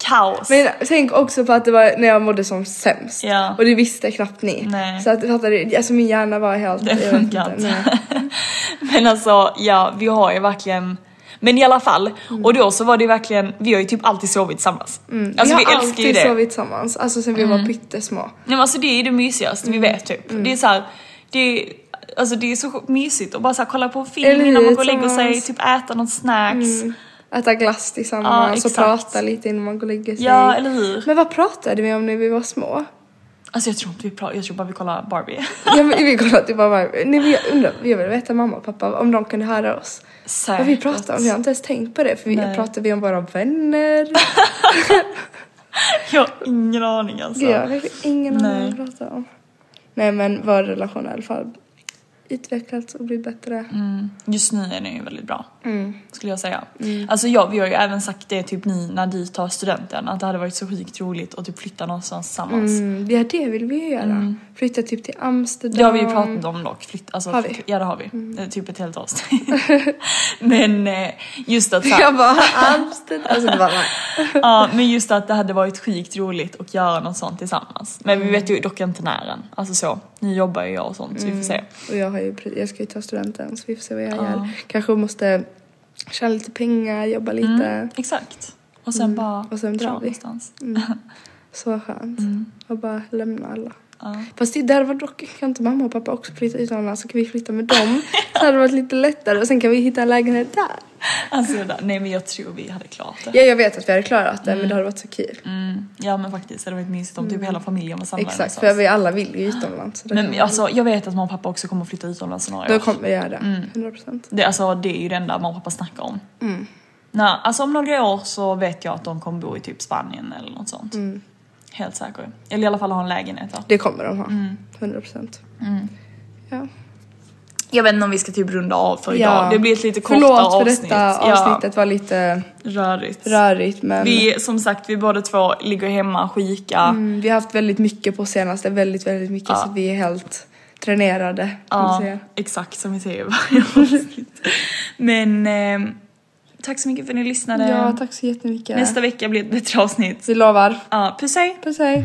Speaker 3: kaos.
Speaker 2: Men tänk också på att det var när jag mådde som sämst.
Speaker 3: Ja.
Speaker 2: Och det visste knappt ni.
Speaker 3: Nej.
Speaker 2: Så att fattar du? Alltså min hjärna var helt... jag
Speaker 3: det
Speaker 2: vet
Speaker 3: funkar
Speaker 2: inte, nej.
Speaker 3: inte. Men alltså ja, vi har ju verkligen men i alla fall, och då så var det ju verkligen, vi har ju typ alltid sovit tillsammans. Alltså vi,
Speaker 2: Mm. vi har
Speaker 3: älskar ju
Speaker 2: alltid
Speaker 3: det. Mm.
Speaker 2: sovit tillsammans, alltså sen vi var pyttesmå.
Speaker 3: Nej, men alltså det är ju det mysigaste
Speaker 2: Mm.
Speaker 3: vi vet typ. Det är så här, det är, alltså det är så mysigt att bara så här, kolla på en film
Speaker 2: Eller hur,
Speaker 3: innan man går och lägger sig,
Speaker 2: tillsammans. Mm,
Speaker 3: typ äta någon snacks.
Speaker 2: Äta glass tillsammans
Speaker 3: Ja,
Speaker 2: och
Speaker 3: exakt.
Speaker 2: prata lite innan man går och lägger sig.
Speaker 3: Ja, eller hur?
Speaker 2: Men vad pratade vi om när vi var små?
Speaker 3: Alltså jag tror inte vi pratar, jag tror bara vi kollar Barbie.
Speaker 2: ja, men vi kollade typ bara varv. Nej men jag undrar, jag vill veta mamma och pappa om de kunde höra oss.
Speaker 3: Säkert.
Speaker 2: Vad vi pratade om, jag har inte ens tänkt på det. För vi,
Speaker 3: Nej.
Speaker 2: pratade vi om våra vänner?
Speaker 3: Jag har ingen aning alltså.
Speaker 2: Gud, jag har verkligen ingen aning
Speaker 3: Nej.
Speaker 2: vad vi pratade om. Nej men vår relation har i alla fall utvecklats och blivit bättre.
Speaker 3: Mm. Just nu är den ju väldigt bra.
Speaker 2: Mm.
Speaker 3: Skulle jag säga. Alltså ja, vi har ju även sagt det typ ni när du tar studenten att det hade varit så sjukt roligt att typ flytta någonstans tillsammans.
Speaker 2: Mm, ja det vill vi ju göra. Flytta typ till Amsterdam.
Speaker 3: Det har Mm. vi ju pratat om dock. Flytt, alltså,
Speaker 2: Har vi? Mm.
Speaker 3: Ja det har vi. Det är typ ett helt avsnitt. men eh, just att så här,
Speaker 2: Jag bara Amsterdam. Alltså det var nej.
Speaker 3: ja, men just att det hade varit sjukt roligt att göra något sånt tillsammans. Men
Speaker 2: Mm.
Speaker 3: vi vet ju dock inte när än. Alltså så, nu jobbar ju jag och sånt så vi får se.
Speaker 2: Och jag, har ju, pre- jag ska ju ta studenten så vi får se vad jag gör. Kanske måste tjäna lite pengar, jobba lite.
Speaker 3: Mm. Exakt. Och sen bara
Speaker 2: Mm. Och sen drar
Speaker 3: dra
Speaker 2: vi.
Speaker 3: någonstans.
Speaker 2: Så skönt.
Speaker 3: Mm.
Speaker 2: Och bara lämna alla. Fast det där var dock, kan inte mamma och pappa också flytta utomlands så kan vi flytta med dem. Så hade det varit lite lättare och sen kan vi hitta en lägenhet där.
Speaker 3: Alltså det där. nej men jag tror vi hade klarat det.
Speaker 2: Ja jag vet att vi hade klarat det men det hade varit så kul.
Speaker 3: Mm, ja men faktiskt, det hade varit mysigt om typ hela familjen var samlad
Speaker 2: Mm. Exakt för
Speaker 3: någonstans.
Speaker 2: vi alla vill ju utomlands. Så det kan
Speaker 3: alltså. Men
Speaker 2: vi-
Speaker 3: alltså jag vet att mamma och pappa också kommer att flytta utomlands i några
Speaker 2: Då
Speaker 3: år.
Speaker 2: kommer vi göra det.
Speaker 3: Mm.
Speaker 2: 100%.
Speaker 3: Det, alltså, det är ju det enda mamma och pappa snackar om.
Speaker 2: Mm.
Speaker 3: Nej, alltså om några år så vet jag att de kommer bo i typ Spanien eller något sånt.
Speaker 2: Mm.
Speaker 3: Helt säker. Eller i alla fall ha en lägenhet där.
Speaker 2: Det kommer de ha.
Speaker 3: Mm.
Speaker 2: 100%. Ja.
Speaker 3: Jag vet inte om vi ska typ runda av för idag.
Speaker 2: ja.
Speaker 3: Det blir ett lite kortare
Speaker 2: Förlåt för
Speaker 3: avsnitt.
Speaker 2: detta avsnittet var lite
Speaker 3: Ja, rörigt.
Speaker 2: rörigt men
Speaker 3: Vi, som sagt, vi båda två ligger hemma sjuka.
Speaker 2: Mm, vi har haft väldigt mycket på senaste, väldigt väldigt mycket så vi är helt tränerade. kan man
Speaker 3: Ja,
Speaker 2: säga.
Speaker 3: exakt som vi säger i varje avsnitt. Men ehm, tack så mycket för att ni lyssnade.
Speaker 2: ja tack så jättemycket.
Speaker 3: Nästa vecka blir ett bättre avsnitt.
Speaker 2: Vi lovar.
Speaker 3: Ja, puss hej!
Speaker 2: Puss hej.